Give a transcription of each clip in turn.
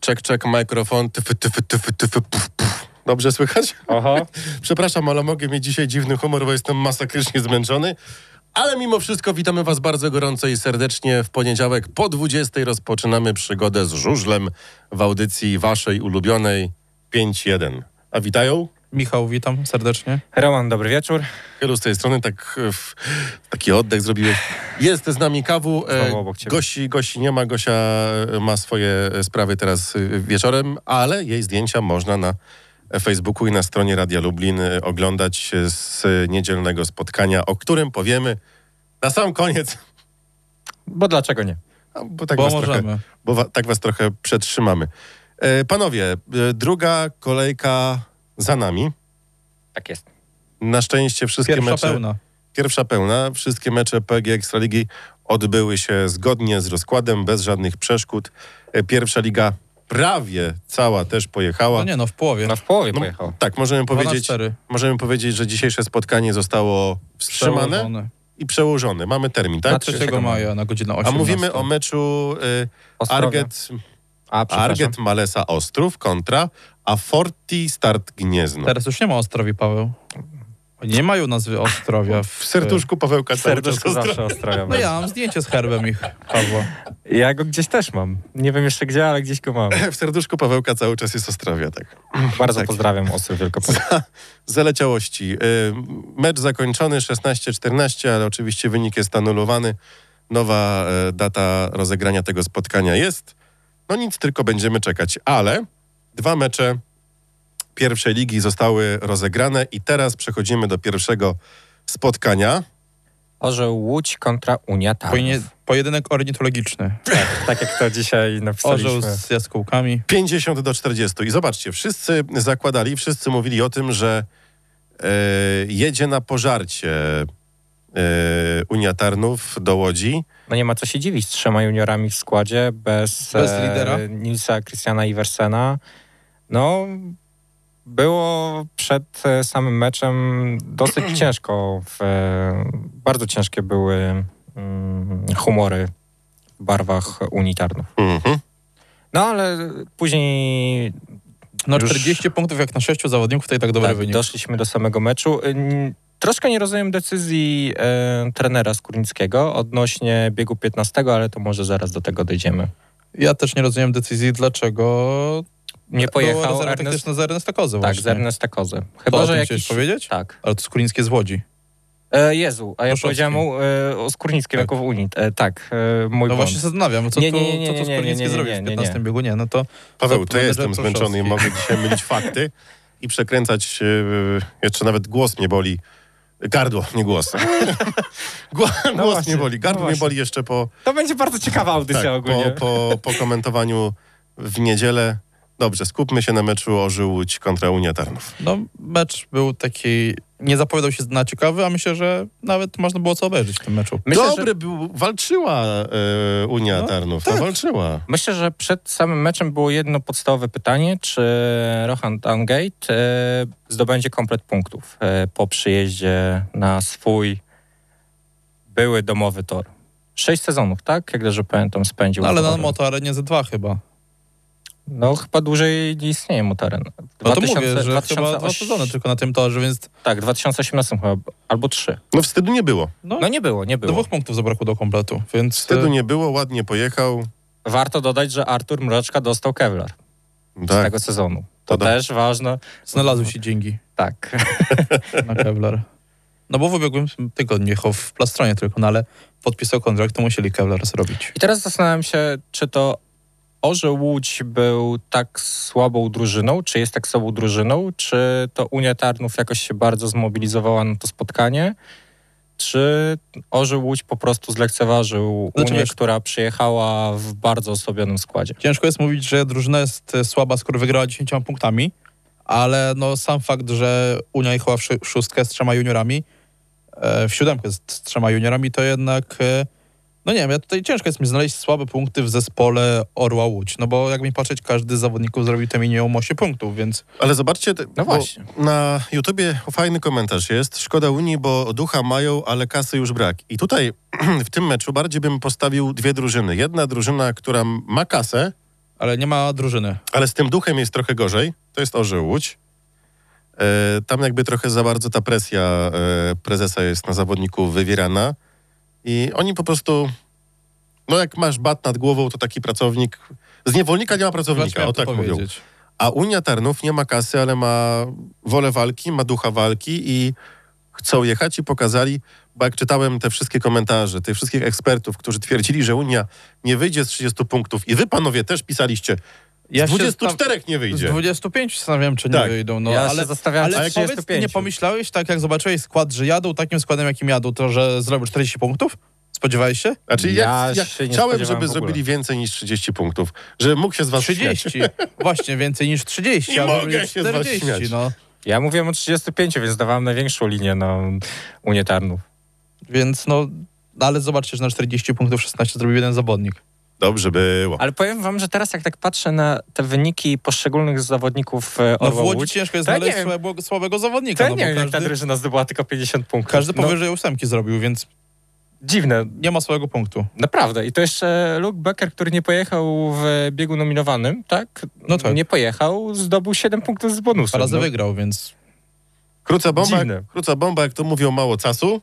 czek, czek, mikrofon, tyfy, tyfy, tyfy, tyfy, puf, puf. Dobrze słychać? Aha. Przepraszam, ale mogę mieć dzisiaj dziwny humor, bo jestem masakrycznie zmęczony. Ale mimo wszystko witamy Was bardzo gorąco i serdecznie. W poniedziałek po 20 rozpoczynamy przygodę z żużlem w audycji Waszej ulubionej 5.1. A witają? Michał, witam serdecznie. Roman, dobry wieczór. Wielu z tej strony tak e, w, taki oddech zrobiłeś. Jest z nami kawu. e, Znowu obok ciebie. Gosi, Gosi nie ma. Gosia e, ma swoje e, sprawy teraz e, wieczorem, ale jej zdjęcia można na Facebooku i na stronie Radia Lublin e, oglądać e, z niedzielnego spotkania, o którym powiemy na sam koniec. Bo dlaczego nie? A, Bo, tak Bo was Trochę, możemy. bo wa, tak was trochę przetrzymamy. E, Panowie, e, druga kolejka za nami. Tak jest. Na szczęście wszystkie Pierwsza mecze... pełna. Pierwsza pełna. Wszystkie mecze PG Ekstraligi odbyły się zgodnie z rozkładem, bez żadnych przeszkód. E, Pierwsza liga prawie cała też pojechała. No nie no, w połowie. No w połowie No, pojechał. tak, możemy Dwa na powiedzieć, cztery. możemy powiedzieć, że dzisiejsze spotkanie zostało wstrzymane Przełożone. i przełożone. Mamy termin, tak? Na trzeciego 3 maja na godzinę 18. A mówimy o meczu y, Ostrowia. Arget, A, przepraszam. Arget Malesa Ostrów kontra a Forti Start Gniezno. Teraz już nie ma Ostrowi, Paweł. Nie mają nazwy Ostrowia. W serduszku Pawełka W cały serduszku czas zawsze Ostrowia. No ja mam zdjęcie z herbem ich, Pawła. Ja go gdzieś też mam. Nie wiem jeszcze gdzie, ale gdzieś go mam. W serduszku Pawełka cały czas jest Ostrowia, tak. Bardzo Tak. pozdrawiam Ostrów Wielkopolski. zaleciałości. Y, Mecz zakończony 16-14, ale oczywiście wynik jest anulowany. Nowa e, data rozegrania tego spotkania jest. No nic, tylko będziemy czekać. Ale dwa mecze pierwszej ligi zostały rozegrane i teraz przechodzimy do pierwszego spotkania. Orzeł Łódź kontra Unia Tarnów. Pojedynie, pojedynek ornitologiczny. Tak, tak jak to dzisiaj Orzeł napisaliśmy. z jaskółkami. 50 do 40. I zobaczcie, wszyscy zakładali, wszyscy mówili o tym, że e, jedzie na pożarcie e, Unia Tarnów do Łodzi. No nie ma co się dziwić z trzema juniorami w składzie, bez, Bez lidera. E, Nilsa Christiana Iversena. No, było przed e, samym meczem dosyć ciężko. W, e, bardzo ciężkie były mm, humory w barwach unitarnych. Mhm. No ale później No Już- 40 punktów jak na 6 zawodników, to i tak dobry tak, wynik. doszliśmy do samego meczu. Y, n- Troszkę nie rozumiem decyzji e, trenera Skórnickiego odnośnie biegu 15, ale to może zaraz do tego dojdziemy. Ja też nie rozumiem decyzji, dlaczego Nie było pojechał rezerwa Ernest, taktyczna za Ernesta Kozę tak, właśnie. z Ernesta Kozy. To Chyba, że o tym chciałeś jakiś... powiedzieć? Tak. Ale to Skórińskie z Łodzi. No E, Jezu, a ja Proszowski. powiedziałem mu, e, o Skórnickim Tak. jako w Unii. E, tak, e, mój No błąd. właśnie się zastanawiam, co Nie, tu, nie, nie, nie, co nie, tu nie, nie, Skórnicki nie, zrobił nie, w nie, nie. 15 biegu, nie, no to Paweł, to Zapomnę, ja że jestem Proszowski. zmęczony i mogę dzisiaj mylić fakty i przekręcać. Yy, jeszcze nawet głos mnie boli. Gardło, nie głos. Gło, No głos właśnie, mnie boli. no Gardło mnie właśnie. boli jeszcze po, To będzie bardzo ciekawa audycja tak, po, ogólnie. po, po komentowaniu w niedzielę. Dobrze, skupmy się na meczu Orzył Łódź kontra Unia Tarnów. No, mecz był taki. Nie zapowiadał się na ciekawy, a myślę, że nawet można było co obejrzeć w tym meczu. Myślę, Dobry że, był, walczyła e, Unia No, Tarnów. tak. No, walczyła. myślę, że przed samym meczem było jedno podstawowe pytanie, czy Rohan Dungate e, zdobędzie komplet punktów e, po przyjeździe na swój były domowy tor. Sześć sezonów, tak? Jak dobrze pamiętam, spędził. No, ale na torem. Moto Arenie z 2 chyba. No chyba dłużej nie istnieje Motaren. No to mówię, że chyba dwa sezony tylko na tym torze, więc Tak, w 2018 chyba, albo trzy. No wstydu nie było. no, No nie było, nie było. dwóch punktów zabrakło do kompletu, więc Wstydu e, nie było, ładnie pojechał. Warto dodać, że Artur Mroczka dostał Kevlar z Tak. tego sezonu. To Doda- też ważne. znalazły się dzięki Tak. na Kevlar. No bo w ubiegłym tygodniu, cho- w Plastronie tylko, no ale podpisał kontrakt, to musieli Kevlar zrobić. I teraz zastanawiam się, czy to Orze Łódź był tak słabą drużyną, czy jest tak słabą drużyną, czy to Unia Tarnów jakoś się bardzo zmobilizowała na to spotkanie, czy Orze Łódź po prostu zlekceważył Znaczy, Unię, wiesz- która przyjechała w bardzo osłabionym składzie. Ciężko jest mówić, że drużyna jest e, słaba, skoro wygrała 10 punktami, ale no sam fakt, że Unia jechała w szy- w szóstkę z trzema juniorami, e, w siódemkę z, z trzema juniorami, to jednak, e, no nie wiem, ja tutaj ciężko jest mi znaleźć słabe punkty w zespole Orła Łódź, no bo jak mi patrzeć, każdy z zawodników zrobił te minimum 8 punktów, więc Ale zobaczcie, te- bo No właśnie. na YouTubie fajny komentarz jest. Szkoda Unii, bo ducha mają, ale kasy już brak. I tutaj w tym meczu bardziej bym postawił dwie drużyny. Jedna drużyna, która ma kasę, ale nie ma drużyny. Ale z tym duchem jest trochę gorzej. To jest Orzeł Łódź. E, tam jakby trochę za bardzo ta presja e, prezesa jest na zawodników wywierana. I oni po prostu... No jak masz bat nad głową, to taki pracownik... Z niewolnika nie ma Właśnie pracownika, miałem o to tak mówią. powiedzieć. A Unia Tarnów nie ma kasy, ale ma wolę walki, ma ducha walki i chcą jechać i pokazali, bo jak czytałem te wszystkie komentarze tych wszystkich ekspertów, którzy twierdzili, że Unia nie wyjdzie z 30 punktów i wy panowie też pisaliście, Ja z się 24 nie zastanaw- Z wyjdzie. 25 zastanawiam, czy nie Tak. wyjdą. No, ja ale, się ale zastanawiałem, ale ale powiedz, ty nie pomyślałeś, tak jak zobaczyłeś skład, że jadą takim składem, jakim jadą, to że zrobił 40 punktów? Spodziewałeś się? Znaczy, Ja ja, ja się nie chciałem, spodziewałem żeby w ogóle. zrobili więcej niż 30 punktów, że mógł się z No, was śmiać. 30. Właśnie, więcej niż 30. Nie albo mogę będzie się z was śmiać. no. Ja mówiłem o 35, więc dawałem największą linię na Unię Tarnów. Więc no, no ale zobaczcie, że na 40 punktów 16 zrobił jeden zawodnik. No, Dobrze było. Ale powiem wam, że teraz jak tak patrzę na te wyniki poszczególnych zawodników e, No w Orła Łodzi Łódź, ciężko jest To ja znaleźć nie wiem. słabego, słabego zawodnika, to ja no nie bo wiem, jak ta każdy, drużyna zdobyła tylko 50 punktów. każdy no, powyżej ósemki zrobił, więc dziwne, nie ma słabego punktu. naprawdę. I to jeszcze Luke Becker, który nie pojechał w biegu nominowanym, tak? No tak. Nie pojechał, zdobył 7 punktów z Dwa bonusem. razy no. wygrał, więc Króca bomba, Dziwne. króca bomba, jak to mówią, mało czasu.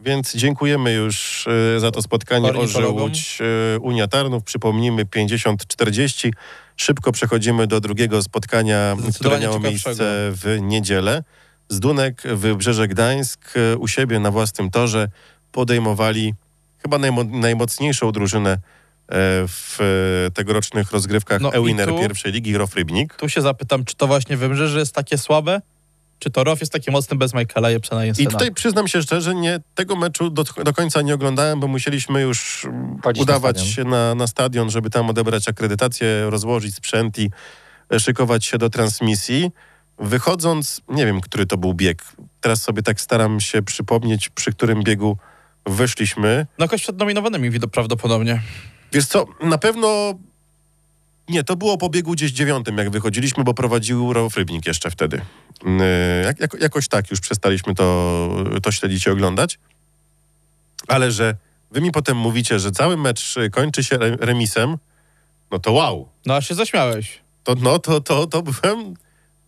Więc dziękujemy już e, za to spotkanie Orzeł Ornitologom. Łódź e, Unia Tarnów. Przypomnijmy 50-40. Szybko przechodzimy do drugiego spotkania, które Zdecydowanie miało ciekawszego. miejsce w niedzielę. Z Dunek Wybrzeże Gdańsk e, u siebie na własnym torze podejmowali chyba najmo najmocniejszą drużynę e, w e, tegorocznych rozgrywkach No i Ewiner tu- pierwszej ligi, Rof Rybnik. tu się zapytam, czy to właśnie Wybrzeże jest takie słabe, czy to ROF jest taki mocny bez Michaela Jepsena i I Jensena. tutaj przyznam się szczerze, nie, tego meczu do, do końca nie oglądałem, bo musieliśmy już mm, Chodzić no, na udawać stadion. się na, na stadion, żeby tam odebrać akredytację, rozłożyć sprzęt i e, szykować się do transmisji. Wychodząc, nie wiem, który to był bieg. Teraz sobie tak staram się przypomnieć, przy którym biegu wyszliśmy. No jakoś przed nominowanymi widok prawdopodobnie. Wiesz co, na pewno... Nie, to było po biegu gdzieś dziewiątym, jak wychodziliśmy, bo prowadził Rolf Rybnik jeszcze wtedy. Yy, Jak, jak, jakoś tak już przestaliśmy to, to śledzić i oglądać. Ale że wy mi potem mówicie, że cały mecz y, kończy się re- remisem, no to wow. No aż się zaśmiałeś. To, no to, to, to byłem,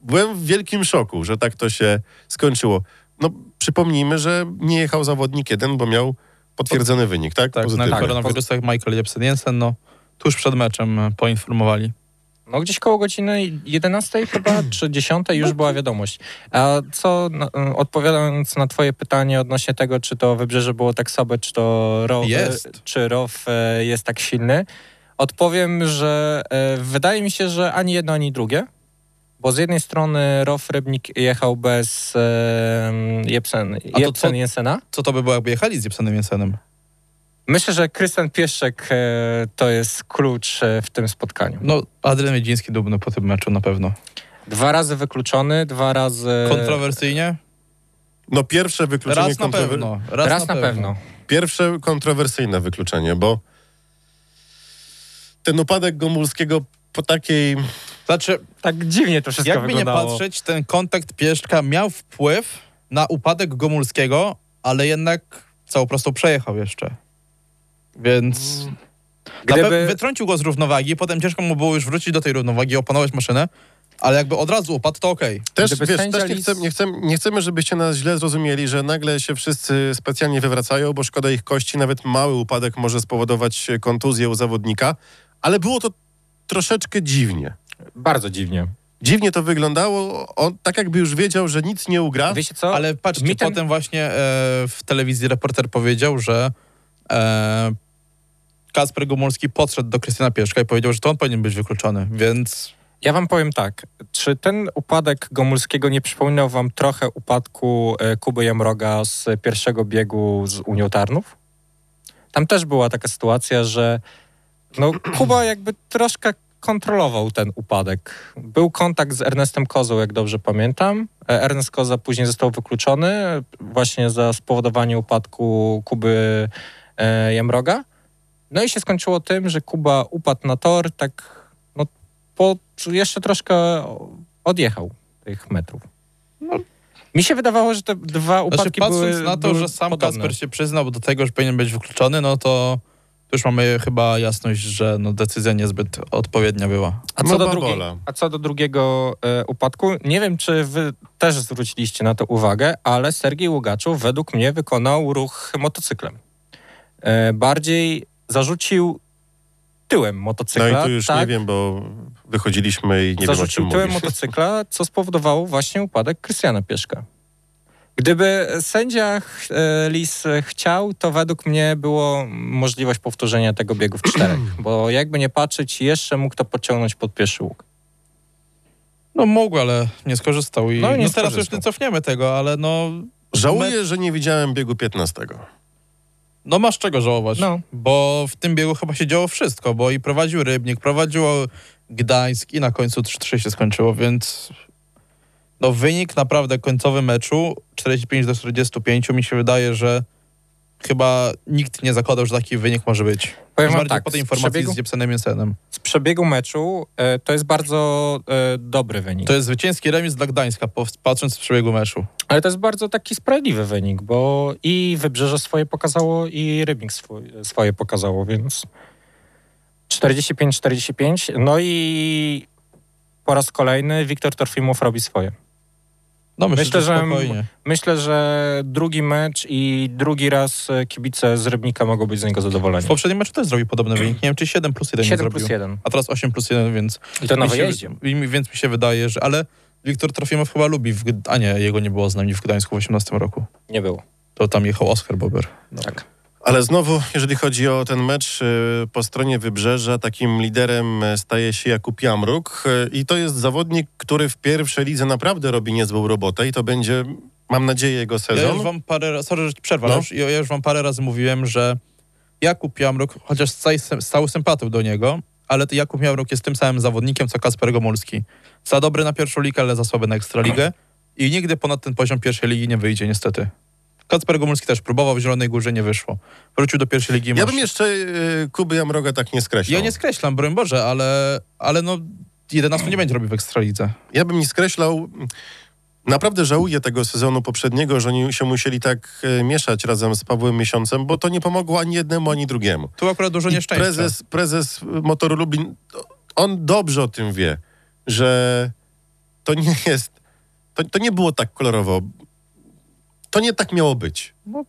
byłem w wielkim szoku, że tak to się skończyło. No przypomnijmy, że nie jechał zawodnik jeden, bo miał potwierdzony wynik, tak? Tak, Pozytywny. na koronawirusach Michael Jepsen Jensen, no tuż przed meczem e, poinformowali. No gdzieś koło godziny 11 chyba, czy 10 już była wiadomość. A co, na- m, odpowiadając na twoje pytanie odnośnie tego, czy to Wybrzeże było tak słabe, czy to ROW, Jest. czy ROW e, jest tak silny, odpowiem, że e, wydaje mi się, że ani jedno, ani drugie. Bo z jednej strony ROW Rybnik jechał bez e, Jepsen, A to Jepsen co- Jensena. Co to by było, jakby jechali z Jepsenem Jensenem? Myślę, że Krystian Pieszczek e, to jest klucz e, w tym spotkaniu. No, Adrian Miedziński dumny po tym meczu na pewno. Dwa razy wykluczony, dwa razy... Kontrowersyjnie? No pierwsze wykluczenie Raz na kontrower- pewno. Raz, na, pewno. Pierwsze kontrowersyjne wykluczenie, bo ten upadek Gomulskiego po takiej... Znaczy, Tak dziwnie to wszystko jakby nie wyglądało. patrzeć, ten kontakt Pieszczka miał wpływ na upadek Gomulskiego, ale jednak całą prostą przejechał jeszcze. Więc Mm. Gdyby, na pe- wytrącił go z równowagi, potem ciężko mu było już wrócić do tej równowagi, opanować maszynę, ale jakby od razu upadł, to okej. Też, Gdyby wiesz, sędzia też nie, Lis- chcemy, nie, chcemy, nie chcemy, żebyście nas źle zrozumieli, że nagle się wszyscy specjalnie wywracają, bo szkoda ich kości, nawet mały upadek może spowodować kontuzję u zawodnika, ale było to troszeczkę dziwnie. Bardzo dziwnie. Dziwnie to wyglądało, on tak jakby już wiedział, że nic nie ugra. Wiecie co? Ale patrzcie, No, mi ten- potem właśnie e, w telewizji reporter powiedział, że e, Kasper Gomulski podszedł do Krystiana Pieszka i powiedział, że to on powinien być wykluczony, więc Ja wam powiem tak. Czy ten upadek Gomulskiego nie przypominał wam trochę upadku e, Kuby Jamroga z pierwszego biegu z Unią Tarnów? Tam też była taka sytuacja, że no, Kuba jakby troszkę kontrolował ten upadek. Był kontakt z Ernestem Kozą, jak dobrze pamiętam. E, Ernest Koza później został wykluczony e, właśnie za spowodowanie upadku Kuby e, Jamroga. No i się skończyło tym, że Kuba upadł na tor, tak no, po, jeszcze troszkę odjechał tych metrów. Mi się wydawało, że te dwa upadki znaczy, patrząc były na to, były że sam podobne. Kasper się przyznał do tego, że powinien być wykluczony, no to to już mamy chyba jasność, że no, decyzja niezbyt odpowiednia była. A co, No, do Barbola. drugiej, a co do drugiego e, upadku, nie wiem, czy wy też zwróciliście na to uwagę, ale Sergiej Ługaczow według mnie wykonał ruch motocyklem. E, bardziej zarzucił tyłem No motocykla. i tu już tak, nie wiem, bo wychodziliśmy i nie wiem, o zarzucił czym tyłem mówisz. motocykla, co spowodowało właśnie upadek Krystiana Pieszka. Gdyby sędzia ch- e, Lis chciał, to według mnie było możliwość powtórzenia tego biegu w czterech, bo jakby nie patrzeć, jeszcze mógł to podciągnąć pod pierwszy łuk. No mógł, ale nie skorzystał. I, No no, i nie teraz już skorzystał. nie cofniemy tego, ale no, Żałuję, że nie widziałem biegu 15. no masz czego żałować. No. Bo w tym biegu chyba się działo wszystko, bo i prowadził Rybnik, prowadził Gdańsk i na końcu 3-3 się skończyło, więc no wynik naprawdę końcowy meczu 45 do 45 mi się wydaje, że chyba nikt nie zakładał, że taki wynik może być. Powiem wam bardziej tak, po tej z informacji przebiegu, z Jepsenem Jensenem. z przebiegu meczu e, to jest bardzo e, dobry wynik. To jest zwycięski remis dla Gdańska, po- patrząc z przebiegu meczu. Ale to jest bardzo taki sprawiedliwy wynik, bo i Wybrzeże swoje pokazało, i Rybnik swój, swoje pokazało, więc 45-45. No i po raz kolejny Wiktor Torfimow robi swoje. No myślę, Myślę, że że- spokojnie. Myślę, że drugi mecz i drugi raz e, kibice z Rybnika mogą być z niego zadowoleni. W poprzednim meczu też zrobił podobny wynik. Nie wiem, czy 7 plus 1 7 nie plus zrobił. 1. A teraz 8 plus 1, więc... I to na mi się- wyjeździe. i mi- Więc mi się wydaje, że... Ale Wiktor Trofimow chyba lubi... W... Gd- A nie, jego nie było z nami w Gdańsku w 18 roku. Nie było. To tam jechał Oskar Bober. Tak. Ale znowu, jeżeli chodzi o ten mecz y, po stronie Wybrzeża, takim liderem y, staje się Jakub Jamruk y, i to jest zawodnik, który w pierwszej lidze naprawdę robi niezłą robotę i to będzie, mam nadzieję, jego Ja sezon. już wam parę razy... Sorry, że ci przerwam. No. Ja już- Ja, ja już wam parę razy mówiłem, że Jakub Jamruk, chociaż z całej sem- z całą sympatią do niego, ale to Jakub Jamruk jest tym samym zawodnikiem, co Kasper Gomulski. Za dobry na pierwszą ligę, ale za słaby na Ekstraligę. I nigdy ponad ten poziom pierwszej ligi nie wyjdzie, niestety. Kacper Gomulski też próbował w Zielonej Górze, nie wyszło. Wrócił do pierwszej ligi. Ja masz- bym jeszcze y, Kuby Jamroga tak nie skreślał. Ja nie skreślam, broń Boże, ale, ale no 11 nie będzie robił w Ekstralidze. ja bym nie skreślał. Naprawdę żałuję tego sezonu poprzedniego, że oni się musieli tak e, mieszać razem z Pawłem Miesiącem, bo to nie pomogło ani jednemu, ani drugiemu. Tu akurat dużo I nieszczęścia. prezes, prezes Motoru Lublin, to- on dobrze o tym wie, że to nie jest, to, to nie było tak kolorowo. To nie tak miało być. No.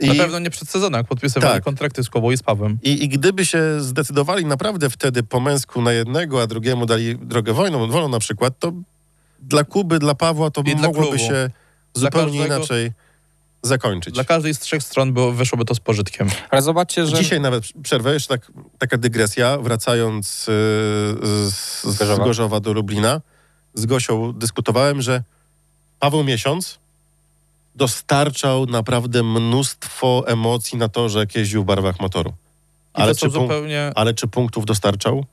I, Na pewno nie przed sezonem, jak podpisywali Tak. kontrakty z Kubą i z Pawłem. i, I gdyby się zdecydowali naprawdę wtedy po męsku na jednego, a drugiemu dali drogę wojną, wolą na przykład, to dla Kuby, dla Pawła to I dla mogłoby klubu. się zupełnie każdego- inaczej zakończyć. Dla każdej z trzech stron było, wyszłoby to z pożytkiem. Ale zobaczcie, że... Dzisiaj nawet przerwę, jeszcze tak, taka dygresja, wracając yy, z, z Gorzowa. Gorzowa. do Lublina, z Gosią dyskutowałem, że Paweł Miesiąc dostarczał naprawdę mnóstwo emocji na to, że jak jeździł w barwach motoru. I Ale to są czy, punk- zupełnie... ale czy punktów dostarczał?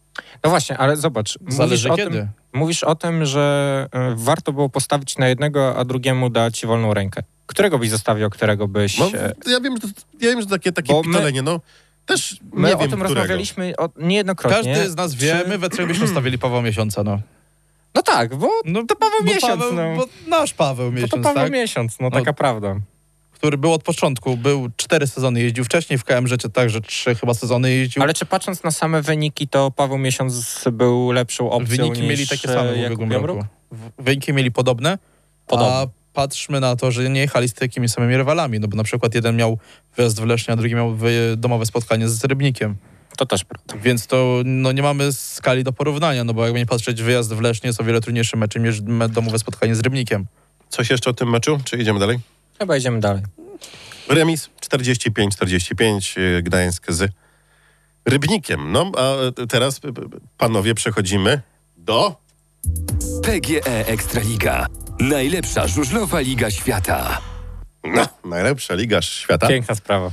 No właśnie, ale zobacz. mówisz Zależy o kiedy. Tym, mówisz o tym, że y, warto było postawić na jednego, a drugiemu dać wolną rękę. Którego byś zostawił, którego byś... No, e, ja, wiem, że, ja wiem, że takie, takie Bo my- pitolenie, no też My nie o wiem, tym którego. rozmawialiśmy o, niejednokrotnie. Każdy z nas wie, Czy- my we trzech byśmy stawili Paweł Miesiąca, no. No tak, bo, no to Paweł bo Miesiąc, Paweł, no. Bo nasz Paweł Miesiąc, bo to Paweł tak? Miesiąc, no No. taka prawda. Który był od początku, był cztery sezony, jeździł wcześniej w KMŻ, czy także trzy chyba sezony jeździł. Ale czy patrząc na same wyniki, to Paweł Miesiąc był lepszą opcją Wyniki niż mieli takie same e, w Jakub ubiegłym Jamruk? roku. W- Wyniki mieli podobne, Podobne. a patrzmy na to, że nie jechali z takimi samymi rywalami, no bo na przykład jeden miał wyjazd w Lesznie, a drugi miał wy- domowe spotkanie z Rybnikiem, To też prawda. więc to no, nie mamy skali do porównania, no bo jakby nie patrzeć, wyjazd w Lesznie jest o wiele trudniejszy meczem niż me- domowe spotkanie z Rybnikiem. Coś jeszcze o tym meczu, czy idziemy dalej? Chyba idziemy dalej. Remis 45-45 y, Gdańsk z Rybnikiem. No, a y, teraz y, y, panowie przechodzimy do... PGE E Ekstraliga. Najlepsza żużlowa liga świata. No, najlepsza liga świata. Tak. Piękna sprawa.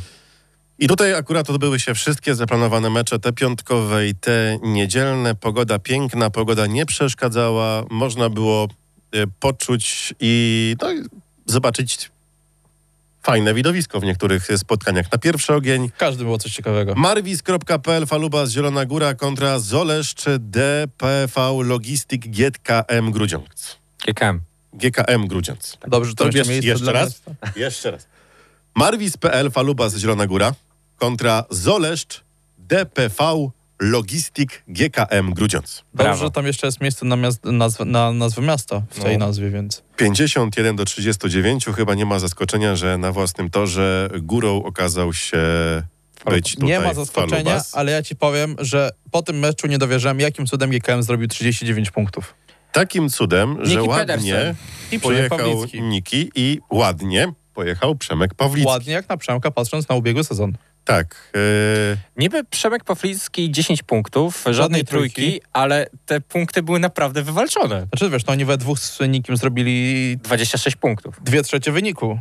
I tutaj akurat odbyły się wszystkie zaplanowane mecze, te piątkowe i te niedzielne. Pogoda piękna, pogoda nie przeszkadzała. Można było y, poczuć i no, i zobaczyć fajne widowisko w niektórych y, spotkaniach. Na pierwszy ogień W każdym było coś ciekawego. Marwis.pl, Faluba z Zielona Góra kontra Zoleszcz DPV Logistik GKM Grudziądz. KKM. GKM Grudziądz. Tak. Dobrze, że to To będzie jeszcze- miejsce jeszcze dla raz? miasta. Jeszcze raz. Marwis.pl, Faluba z Zielona Góra kontra Zoleszcz DPV Logistik GKM Grudziądz. Dobrze, Brawo. że tam jeszcze jest miejsce na, miast, nazw, na nazwę miasta w tej No. nazwie, więc 51 do 39 chyba nie ma zaskoczenia, że na własnym torze górą okazał się być tutaj nie ma zaskoczenia, Falubas. ale ja ci powiem, że po tym meczu nie dowierzałem, jakim cudem GKM zrobił 39 punktów. Takim cudem, że Niki ładnie Pedersen. I Przemek pojechał Pawlicki. Niki i ładnie pojechał Przemek Pawlicki. Ładnie jak na Przemka, patrząc na ubiegły sezon. Tak. e, Niby Przemek Pawlicki 10 punktów, żadnej, Żadnej trójki. trójki, ale te punkty były naprawdę wywalczone. Znaczy, wiesz, no oni we dwóch z nikim zrobili 26 punktów, dwie trzecie wyniku,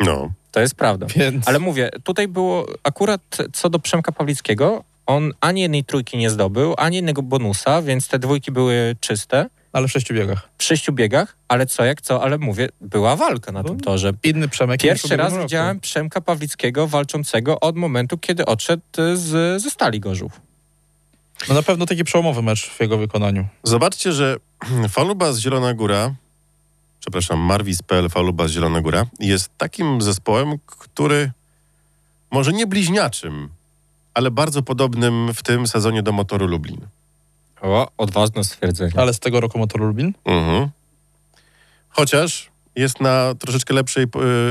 no. to jest prawda. więc... Ale mówię, tutaj było akurat co do Przemka Pawlickiego, on ani jednej trójki nie zdobył, ani jednego bonusa, więc te dwójki były czyste Ale w sześciu biegach. w sześciu biegach, ale co jak co, ale mówię, była walka na tym torze. Inny Przemek. niż w Pierwszy ubiegłym raz roku. widziałem Przemka Pawlickiego walczącego od momentu, kiedy odszedł z, ze Stali Gorzów. No na pewno taki przełomowy mecz w jego wykonaniu. Zobaczcie, że Falubas Zielona Góra, przepraszam, Marwis.pl Falubas Zielona Góra jest takim zespołem, który może nie bliźniaczym, ale bardzo podobnym w tym sezonie do Motoru Lublin. O, odważne stwierdzenie. Tak. Ale z tego roku Motor Lubin. Mhm. Chociaż jest na troszeczkę lepszej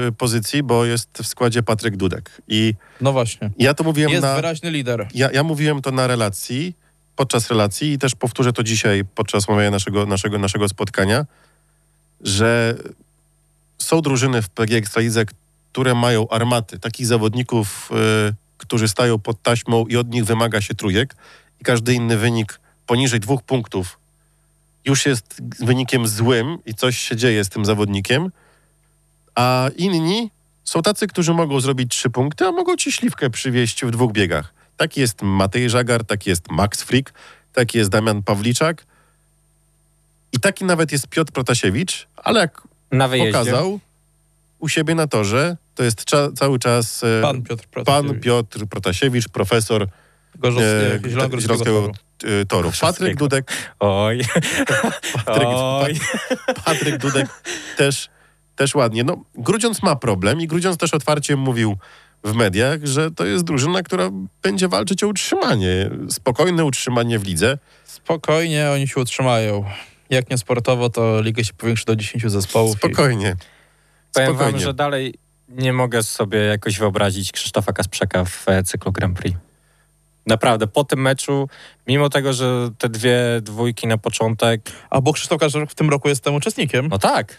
y, pozycji, bo jest w składzie Patryk Dudek. I No właśnie. ja to mówiłem Jest na... wyraźny lider. Tak, Ja, ja mówiłem to na relacji, podczas relacji i też powtórzę to dzisiaj podczas omawiania naszego, naszego, naszego spotkania, że są drużyny w PG Ekstralidze, które mają armaty, takich zawodników, y, którzy stają pod taśmą i od nich wymaga się trójek i każdy inny wynik poniżej dwóch punktów już jest wynikiem złym i coś się dzieje z tym zawodnikiem, a inni są tacy, którzy mogą zrobić trzy punkty, a mogą ci śliwkę przywieźć w dwóch biegach. Taki jest Matej Żagar, taki jest Max Frick, taki jest Damian Pawliczak i taki nawet jest Piotr Protasiewicz, ale jak Na wyjeździe. pokazał u siebie na torze, to jest cza- cały czas e, Pan Piotr Protasiewicz. pan Piotr Protasiewicz, profesor e, Gorzowskiego, te- Zielonogórskiego Zielonogórskiego Toru. e, Toru. Patryk Gorzowskiego. Dudek, Oj. Patryk, Oj. Patryk Dudek też, też ładnie. No, Grudziądz ma problem i Grudziądz też otwarcie mówił w mediach, że to jest drużyna, która będzie walczyć o utrzymanie. Spokojne utrzymanie w lidze. Spokojnie, oni się utrzymają. Jak nie sportowo, to liga się powiększy do 10 zespołów. Spokojnie. Powiem wam, Spokojnie. że dalej nie mogę sobie jakoś wyobrazić Krzysztofa Kasprzaka w e, cyklu Grand Prix. Naprawdę, po tym meczu, mimo tego, że te dwie dwójki na początek, I... A bo Krzysztof Kaczorek w tym roku jestem uczestnikiem. no tak.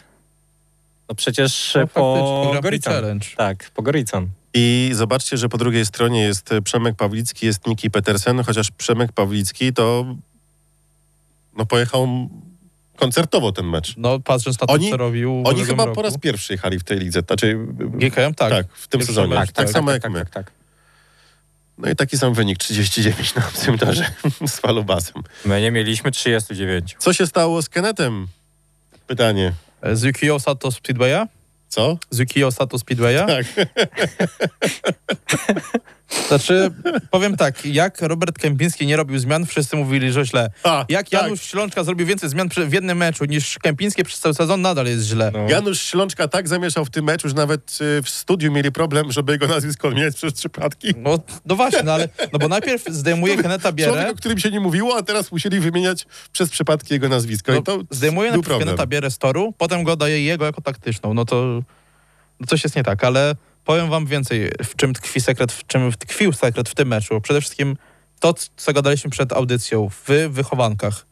No przecież e, No faktycznie, po Grand Prix Gorican. Challenge. Tak, po Gorican. I zobaczcie, że po drugiej stronie jest e, Przemek Pawlicki, jest Niki Petersen, chociaż Przemek Pawlicki to no pojechał m- koncertowo ten mecz. No patrząc na to, Oni- co robił w Oni ubiegłym chyba roku. po raz pierwszy jechali w tej lidze, znaczy e, GKM tak. tak, w tym Pierwszy sezonie. mecz, Tak, tak, samo jak tak, my. tak, tak. No i taki sam wynik, 39 na tym torze z Falubasem. My nie mieliśmy 39. Co się stało z Kenetem? Pytanie. E, Z Yukio Sato Speedwaya? Co? Z Yukio Sato Speedwaya? Tak. Znaczy, powiem tak, jak Robert Kępiński nie robił zmian, wszyscy mówili, że źle. A, Jak tak. Janusz Ślączka zrobił więcej zmian przy- w jednym meczu niż Kępiński przez cały sezon, nadal jest źle. No. Janusz Ślączka tak zamieszał w tym meczu, że nawet y, w studiu mieli problem, żeby jego nazwisko mieć przez przypadki. No, no właśnie, no, ale, no bo najpierw zdejmuje Keneta Człowiek, Bierę, o którym się nie mówiło, a teraz musieli wymieniać przez przypadki jego nazwisko. no, I to zdejmuje był najpierw problem. Keneta Bierę z toru, potem go daje jego jako taktyczną, no to no coś jest nie tak, ale powiem wam więcej, w czym tkwi sekret, w czym tkwił sekret w tym meczu. Przede wszystkim to, co gadaliśmy przed audycją, w wychowankach.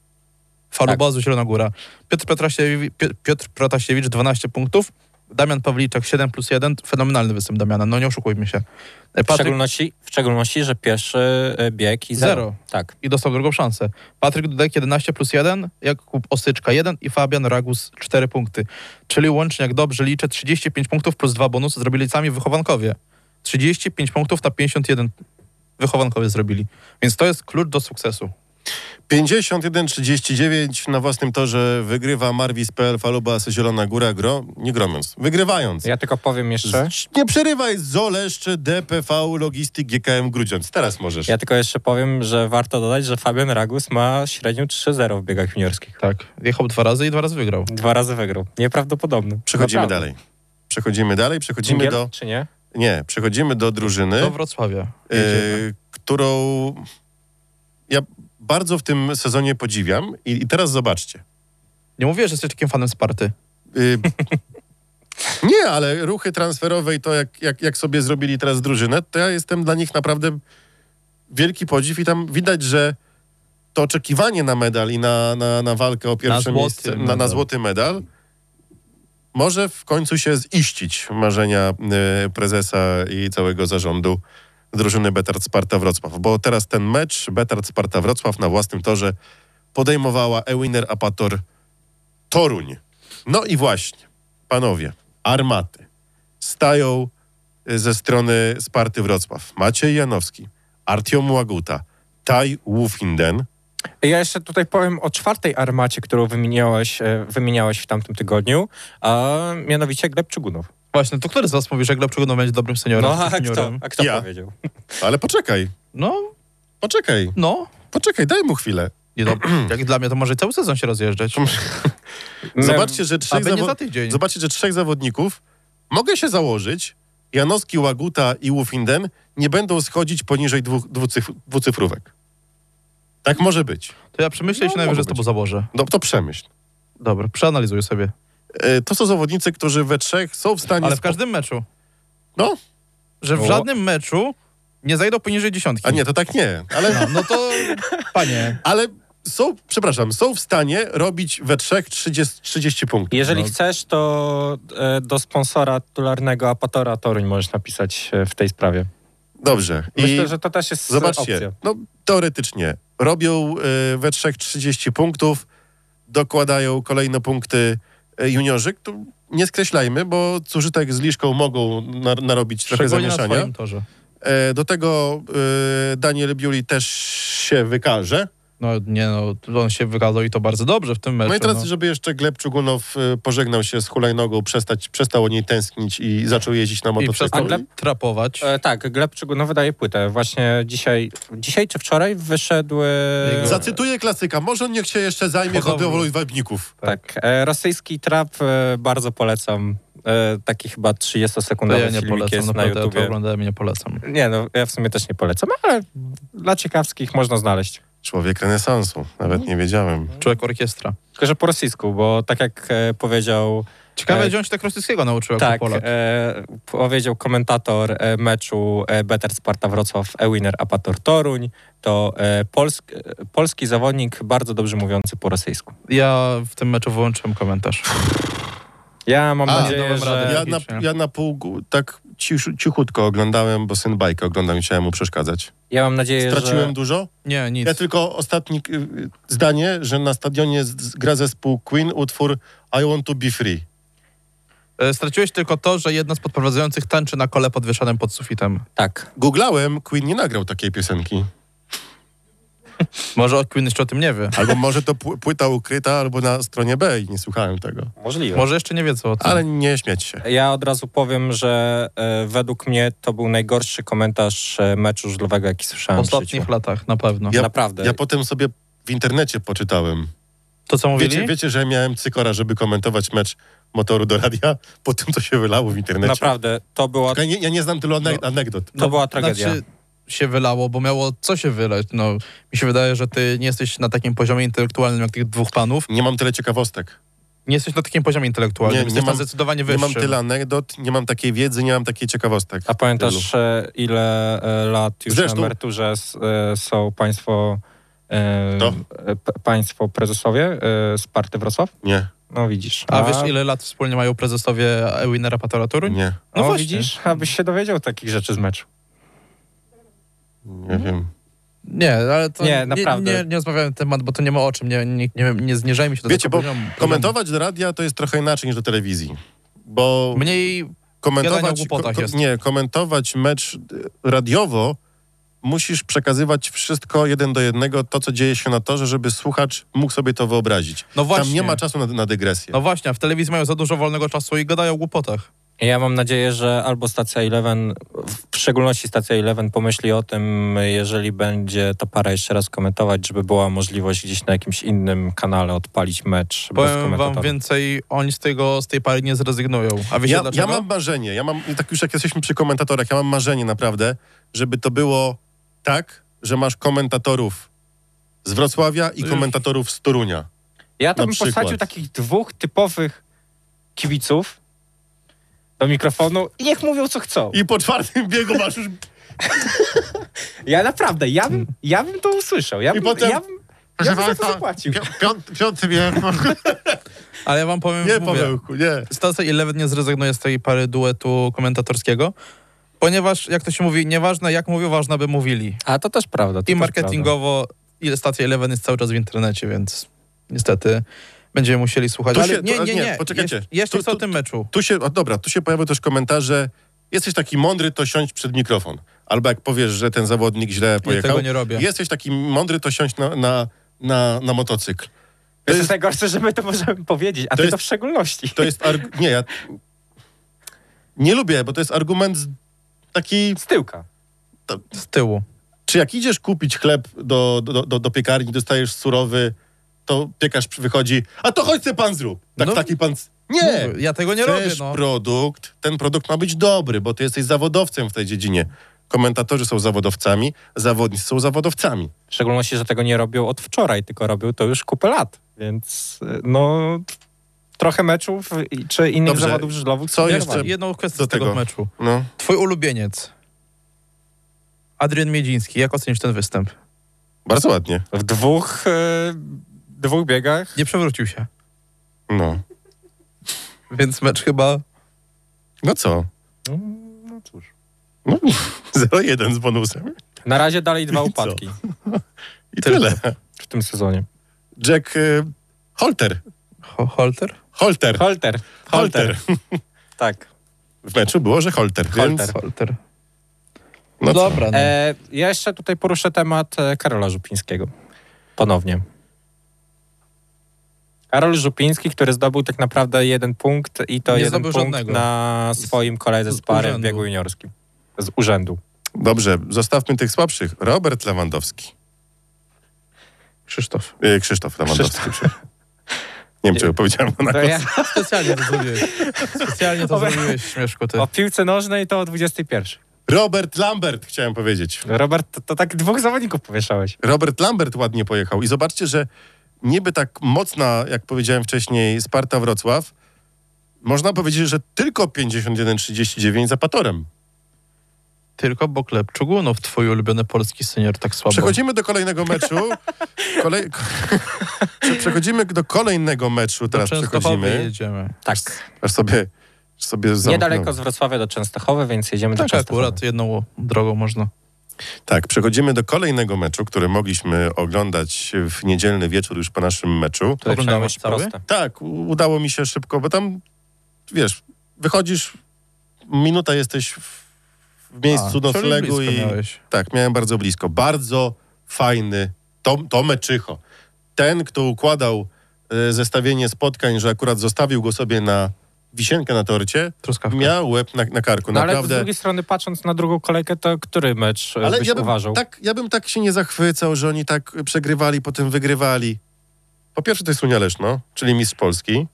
Falubozu Zielonogóra. Piotr, Petrasiewicz, Piotr Protasiewicz 12 punktów, Damian Pawliczak 7 plus 1, fenomenalny występ Damiana, no nie oszukujmy się. W Patryk szczególności, w szczególności, że pierwszy e, bieg i zero. Zero. Tak. i dostał drugą szansę. Patryk Dudek 11 plus 1, Jakub Osyczka 1 i Fabian Ragus 4 punkty. Czyli łącznie, jak dobrze liczę, 35 punktów plus 2 bonusy zrobili sami wychowankowie. 35 punktów na 51 wychowankowie zrobili. Więc to jest klucz do sukcesu. 51-39 na własnym torze wygrywa Marwis.pl Falubas Zielona Góra, gro, nie gromiąc, wygrywając. Ja tylko powiem jeszcze. Nie przerywaj Zolesz czy DPV Logistik GKM Grudziądz. Teraz możesz. Ja tylko jeszcze powiem, że warto dodać, że Fabian Ragus ma średnią 3-0 w biegach juniorskich. Tak. Jechał dwa razy i dwa razy wygrał. Dwa razy wygrał. Nieprawdopodobne. Przechodzimy Naprawdę. dalej. Przechodzimy dalej, przechodzimy Dżingiel, do... czy nie? Nie, przechodzimy do drużyny, Do Wrocławia. jedziemy. y, którą ja bardzo w tym sezonie podziwiam. I, i teraz zobaczcie. Nie mówię, że jesteś takim fanem Sparty. Y, nie, ale ruchy transferowe i to, jak, jak, jak sobie zrobili teraz drużynę, to ja jestem dla nich naprawdę wielki podziw i tam widać, że to oczekiwanie na medal i na, na, na walkę o pierwsze złoty miejsce, na, na medal. złoty medal, może w końcu się ziścić marzenia y, prezesa i całego zarządu drużyny Betard Sparta Wrocław, bo teraz ten mecz Betard Sparta Wrocław na własnym torze podejmowała Ewiner Apator Toruń. No i właśnie, panowie, armaty stają y, ze strony Sparty Wrocław. Maciej Janowski, Artiom Łaguta, Taj Wufinden. Ja jeszcze tutaj powiem o czwartej armacie, którą wymieniałeś, e, wymieniałeś w tamtym tygodniu, a mianowicie Gleb Czugunow. Właśnie, to który z was mówi, że Gleb Czugunow będzie dobrym seniorem? No a kto, seniorem? a kto Ja. powiedział? Ale poczekaj, No, poczekaj, no. poczekaj, daj mu chwilę. Nie, no, jak dla mnie to może cały sezon się rozjeżdżać. Zobaczcie, że trzech, Aby nie zawo- za tydzień. zobaczcie, że trzech zawodników mogę się założyć, Janowski, Łaguta i Wufinden nie będą schodzić poniżej dwóch, dwucyf- dwucyfrówek. Tak może być. To ja przemyślę i No, się najwyżej może z tobą założę. No to przemyśl. Dobra, przeanalizuję sobie. E, To są zawodnicy, którzy we trzech są w stanie... Ale w spo- każdym meczu. No, Że w O. żadnym meczu nie zajdą poniżej dziesiątki. a nie, to tak nie. Ale No, no to, panie, Ale są, przepraszam, są w stanie robić we trzech 30, 30 punktów. Jeżeli No. chcesz, to e, do sponsora tularnego Apatora Toruń możesz napisać e, w tej sprawie. Dobrze. I Myślę, że to też jest e, opcja. zobaczcie, no, teoretycznie robią y, we trzech 30 punktów, dokładają kolejne punkty y, juniorzy. Tu nie skreślajmy, bo Cużytek z Liszką mogą na, narobić trochę szczególnie na zamieszania. swoim torze. E, do tego y, Daniel Biuli też się wykaże. No nie no, on się wykazał i to bardzo dobrze w tym meczu. No i teraz, no. żeby jeszcze Gleb Czugunow y, pożegnał się z hulajnogą, przestać, przestał o niej tęsknić i zaczął jeździć na I motocyklu. przestał Gleb- trapować. E, tak, Gleb Czugunow wydaje płytę. Właśnie dzisiaj, dzisiaj czy wczoraj wyszedły... Tak, Jego- Zacytuję klasyka. Może niech się jeszcze zajmie Podobno. hodowlą webników. Tak, e, rosyjski trap e, bardzo polecam. E, taki chyba To 30-sekundowy ja nie filmik polecam, jest na naprawdę, ja to YouTubie. oglądałem i nie polecam. Nie, no ja w sumie też nie polecam, ale dla ciekawskich można znaleźć. Człowiek renesansu. Nawet nie wiedziałem. Człowiek orkiestra. Tylko, że po rosyjsku, bo tak jak e, powiedział Ciekawe, E, gdzie on się tak rosyjskiego nauczył jako tak, Polak. e, powiedział komentator e, meczu e, Better Sparta Wrocław Ewiner Apator Toruń, to e, polsk, e, polski zawodnik bardzo dobrze mówiący po rosyjsku. Ja w tym meczu wyłączyłem komentarz. Ja mam A, nadzieję, dałem radę. że... Ja na, logicznie. ja na pół gó- tak cisz, cichutko oglądałem, bo syn bajkę oglądał i chciałem mu przeszkadzać. Ja mam nadzieję, Straciłem że... dużo? Nie, nic. Ja tylko ostatnie y, y, zdanie, że na stadionie z- z- gra zespół Queen utwór I want to be free. E, Straciłeś tylko to, że jedna z podprowadzających tańczy na kole podwieszanym pod sufitem. Tak. Googlałem, Queen nie nagrał takiej piosenki. Może Queen jeszcze o tym nie wie. Albo może to pł- płyta ukryta, albo na stronie B i nie słuchałem tego. Możliwe. Może jeszcze nie wiedzą o tym. Ale nie śmiać się. Ja od razu powiem, że e, według mnie to był najgorszy komentarz e, meczu żużlowego, jaki w słyszałem w życiu. ostatnich latach, na pewno. Ja- Naprawdę. Ja potem sobie w internecie poczytałem. To co mówili? Wiecie, wiecie, że miałem cykora, żeby komentować mecz motoru do radia po tym, co się wylało w internecie. Naprawdę, No. to była, Ja nie, ja nie znam tylu anek- anegdot. to była tragedia. Znaczy, się wylało, bo miało co się wylać. No, mi się wydaje, że ty nie jesteś na takim poziomie intelektualnym jak tych dwóch panów. Nie mam tyle ciekawostek. Nie jesteś na takim poziomie intelektualnym, Nie, nie nie, jesteś mam- na zdecydowanie Nie wyższym. mam tyle anegdot, nie mam takiej wiedzy, nie mam takiej ciekawostek. A pamiętasz, e, ile e, lat już Zresztą- na emeryturze s- e, są państwo, e, To? e, p- państwo prezesowie e, z Party Wrocław? Nie, No widzisz. A wiesz, ile lat wspólnie mają prezesowie Ewinera Patoratury? nie, No No właśnie. widzisz, abyś się dowiedział takich rzeczy z meczu. Mhm. nie wiem. Nie, ale to Nie, nie, naprawdę. Nie, nie, nie rozmawiałem na temat, bo to nie ma o czym. Nie, nie, nie, nie zniżajmy się do Wiecie, tego bo poziomu. komentować do radia to jest trochę inaczej niż do telewizji. Bo Mniej gadania o komentować, głupotach jest. nie, komentować mecz y, radiowo musisz przekazywać wszystko jeden do jednego, to co dzieje się na torze, żeby słuchacz mógł sobie to wyobrazić. No właśnie. Tam nie ma czasu na, na dygresję. No właśnie, a w telewizji mają za dużo wolnego czasu i gadają o głupotach. Ja mam nadzieję, że albo stacja 11, w szczególności stacja 11 pomyśli o tym, jeżeli będzie to para jeszcze raz komentować, żeby była możliwość gdzieś na jakimś innym kanale odpalić mecz bez Powiem komentatora. wam więcej, oni z tego, z tej pary nie zrezygnują. A wiecie Ja, ja dlaczego? mam marzenie, ja mam, tak już jak jesteśmy przy komentatorach, ja mam marzenie naprawdę, żeby to było tak, że masz komentatorów z Wrocławia i komentatorów z Torunia. Ja to Na bym przykład. posadził takich dwóch typowych kibiców do mikrofonu i niech mówią co chcą. I po czwartym biegu masz już... Ja naprawdę, ja bym, ja bym to usłyszał. Ja I bym, potem- ja bym, Proszę ja bym za to państwa, zapłacił. pią- piąty, piąty bieg, może- Ale ja wam powiem, Nie, mówię, Pawełku, nie. Stacja 11 nie zrezygnuje z tej pary duetu komentatorskiego, ponieważ, jak to się mówi, nieważne jak mówią, ważne by mówili. A to też prawda. To I też marketingowo ile stacja 11 jest cały czas w internecie, więc niestety będziemy musieli słuchać. Tu Ale się- nie, to- nie, nie, nie, poczekajcie. Jeszcze, jeszcze Tu- chcę o tu- tym meczu. Tu się, a dobra, tu się pojawiły też komentarze, jesteś taki mądry, to siądź przed mikrofon. Albo jak powiesz, że ten zawodnik źle pojechał. tego nie robię. Jesteś taki mądry, to siądź na, na, na, na motocykl. To To jest jest, najgorsze, że my to możemy powiedzieć, a to ty jest- to w szczególności. to jest arg- nie, ja nie lubię, bo to jest argument z- taki, Z tyłka. Z tyłu. czy jak idziesz kupić chleb do, do, do, do piekarni, dostajesz surowy, to piekarz wychodzi, a to chodź se pan zrób. Tak, No. taki pan... z- Nie, ja tego nie robię. Chcesz No. produkt, ten produkt ma być dobry, bo ty jesteś zawodowcem w tej dziedzinie. Komentatorzy są zawodowcami, zawodnicy są zawodowcami. W szczególności, że tego nie robią od wczoraj, tylko robią to już kupę lat. Więc y, no trochę meczów i- czy innych Dobrze. zawodów żużlowych. Co nie jeszcze? robią. Jedną kwestię do z tego tego. meczu. No. Twój ulubieniec. Adrian Miedziński, jak ocenisz ten występ? Bardzo ładnie. W dwóch, y, dwóch biegach Nie przewrócił się, No. więc mecz chyba No co? No cóż. No, 0-1 z bonusem. Na razie dalej dwa I co? upadki I tyle. w tym sezonie. Jack y, Holter. ho- holter. Holter. Holter. Holter. Holter. Tak. W meczu było, że Holter. Więc, Holter. Holter. no co? dobra. No. E, ja jeszcze tutaj poruszę temat e, Karola Żupińskiego. Ponownie. Karol Żupiński, który zdobył tak naprawdę jeden punkt i to Nie jeden zdobył punkt żadnego. na swoim koledze z z pary w urzędu. biegu juniorskim. Z urzędu. Dobrze, zostawmy tych słabszych. Robert Lewandowski. Krzysztof. Y, Krzysztof Lewandowski. przepraszam. Nie wiem, czego powiedziałem. Tak Na To ja, Specjalnie to zrobiłeś. Specjalnie to Dobra. zrobiłeś, śmieszku ty. o piłce nożnej to o 21. Robert Lambert chciałem powiedzieć. Robert, to, to tak dwóch zawodników powieszałeś. Robert Lambert ładnie pojechał. I zobaczcie, że niby tak mocna, jak powiedziałem wcześniej, Sparta Wrocław, można powiedzieć, że tylko 51-39 za Patorem. Tylko Boklep Czugunow, twój ulubiony polski senior, tak słabo. Przechodzimy do kolejnego meczu. Kolej... ko- Prze- Przechodzimy do kolejnego meczu. do Teraz Częstochowy przechodzimy. jedziemy. Tak. Aż sobie, aż sobie zamknąłem. No, Niedaleko z Wrocławia do Częstochowy, więc jedziemy do Tak, Częstochowy. akurat jedną drogą można. Tak, przechodzimy do kolejnego meczu, który mogliśmy oglądać w niedzielny wieczór już po naszym meczu. Tutaj trzeba Oglądałeś być cały? proste. Tak, u- udało mi się szybko, bo tam, wiesz, wychodzisz, minuta jesteś w, w miejscu A, czyli noclegu blisko i... miałeś. Tak, miałem bardzo blisko. Bardzo fajny Tom, Tomeczycho. Ten, kto układał e, zestawienie spotkań, że akurat zostawił go sobie na wisienkę na torcie, Truskawka. miał łeb na, na karku. No, ale z Naprawdę. drugiej strony, patrząc na drugą kolejkę, to który mecz e, byś ja bym, uważał? Tak, ja bym tak się nie zachwycał, że oni tak przegrywali, potem wygrywali. Po pierwsze to jest Unia Leszno, czyli mistrz Polski.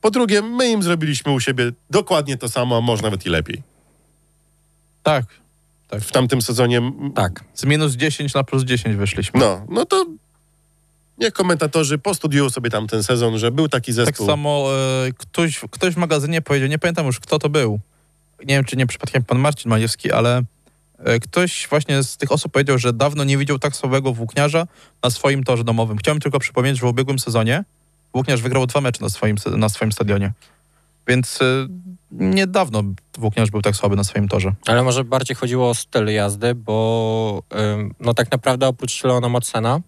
Po drugie, my im zrobiliśmy u siebie dokładnie to samo, a może nawet i lepiej. Tak. W tamtym sezonie... m, Tak. Z minus 10 na plus 10 wyszliśmy. No, no to niech komentatorzy postudiują sobie tam ten sezon, że był taki tak zespół. samo e, ktoś, ktoś w magazynie powiedział, nie pamiętam już kto to był. Nie wiem, czy nie przypadkiem pan Marcin Majewski, ale e, ktoś właśnie z tych osób powiedział, że dawno nie widział tak słabego włókniarza na swoim torze domowym. Chciałem tylko przypomnieć, że w ubiegłym sezonie włókniarz wygrał dwa mecze na swoim, se- na swoim stadionie. Więc e, niedawno włókniarz był tak słaby na swoim torze. Ale może bardziej chodziło o styl jazdy, bo ym, no tak naprawdę oprócz Leona Mocena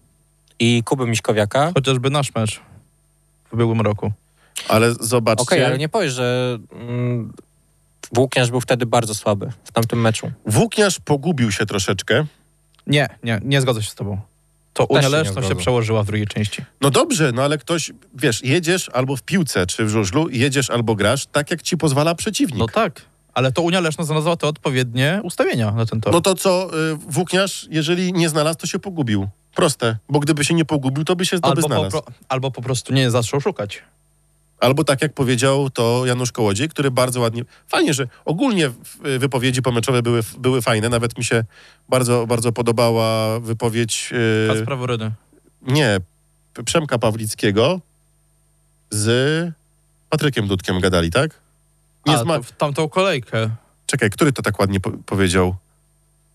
i Kuby Miśkowiaka, Chociażby nasz mecz w ubiegłym roku. Ale zobaczcie, okej, ale nie powiesz, że mm, Włókniarz był wtedy bardzo słaby Mm. w tamtym meczu. włókniarz pogubił się troszeczkę. Nie, nie, nie zgodzę się z tobą. to się Unia nie Leszno się ogląda. przełożyła w drugiej części. No dobrze, no ale ktoś, wiesz, jedziesz albo w piłce czy w żużlu, jedziesz albo grasz tak, jak ci pozwala przeciwnik. No No, tak, ale to Unia Leszno znalazła te odpowiednie ustawienia na ten tor. to co, y, włókniarz, jeżeli nie znalazł, to się pogubił. Proste, bo gdyby się nie pogubił, to by się zdoby albo, po, znalazł. pro, albo po prostu nie zaczął szukać. Albo tak jak powiedział to Janusz Kołodziej, który bardzo ładnie. Fajnie, że ogólnie w- y, wypowiedzi pomeczowe były, były fajne. Nawet mi się bardzo, bardzo podobała wypowiedź. y, Kacpra Woryny. nie, P- Przemka Pawlickiego z Patrykiem Dudkiem gadali, tak? Nie A, z Ma- to w tamtą kolejkę. Czekaj, który to tak ładnie po- powiedział?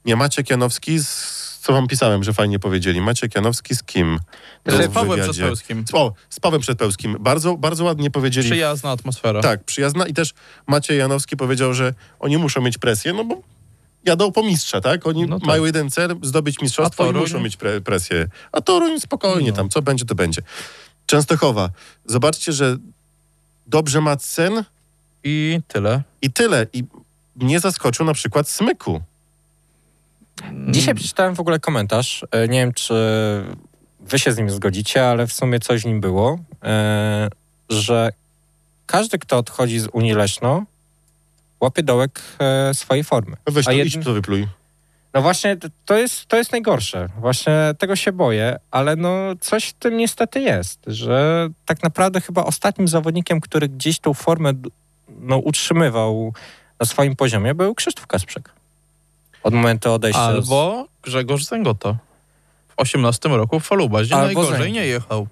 Nie, Maciek Janowski, z... co wam pisałem, że fajnie powiedzieli. Maciek Janowski z kim? Był Z w Pawłem wywiadzie. Przedpełskim. Z- O, z Pawłem Przedpełskim. Bardzo, bardzo ładnie powiedzieli. Przyjazna atmosfera. Tak, przyjazna. I też Maciej Janowski powiedział, że oni muszą mieć presję, no bo jadą po mistrza, tak? Oni No tak. mają jeden cel, zdobyć mistrzostwo A i Toruń? muszą mieć pre presję. A Toruń spokojnie No. tam, co będzie, to będzie. Częstochowa. Zobaczcie, że dobrze ma cen I tyle. i tyle. I mnie zaskoczył na przykład Smyku. Dzisiaj przeczytałem w ogóle komentarz. E, Nie wiem, czy wy się z nim zgodzicie, ale w sumie coś w nim było, e, że każdy, kto odchodzi z Unii Leszno, łapie dołek e, swojej formy. Weź A to, jedn- idź to wypluj. No właśnie, t- to jest, to jest najgorsze. Właśnie tego się boję, ale no coś w tym niestety jest, że tak naprawdę chyba ostatnim zawodnikiem, który gdzieś tą formę d- no, utrzymywał na swoim poziomie, był Krzysztof Kasprzek. Od momentu odejścia. z- Albo Grzegorz Zęgota. W 18 roku Foluba, gdzie Albo najgorzej Zęgi. nie jechał.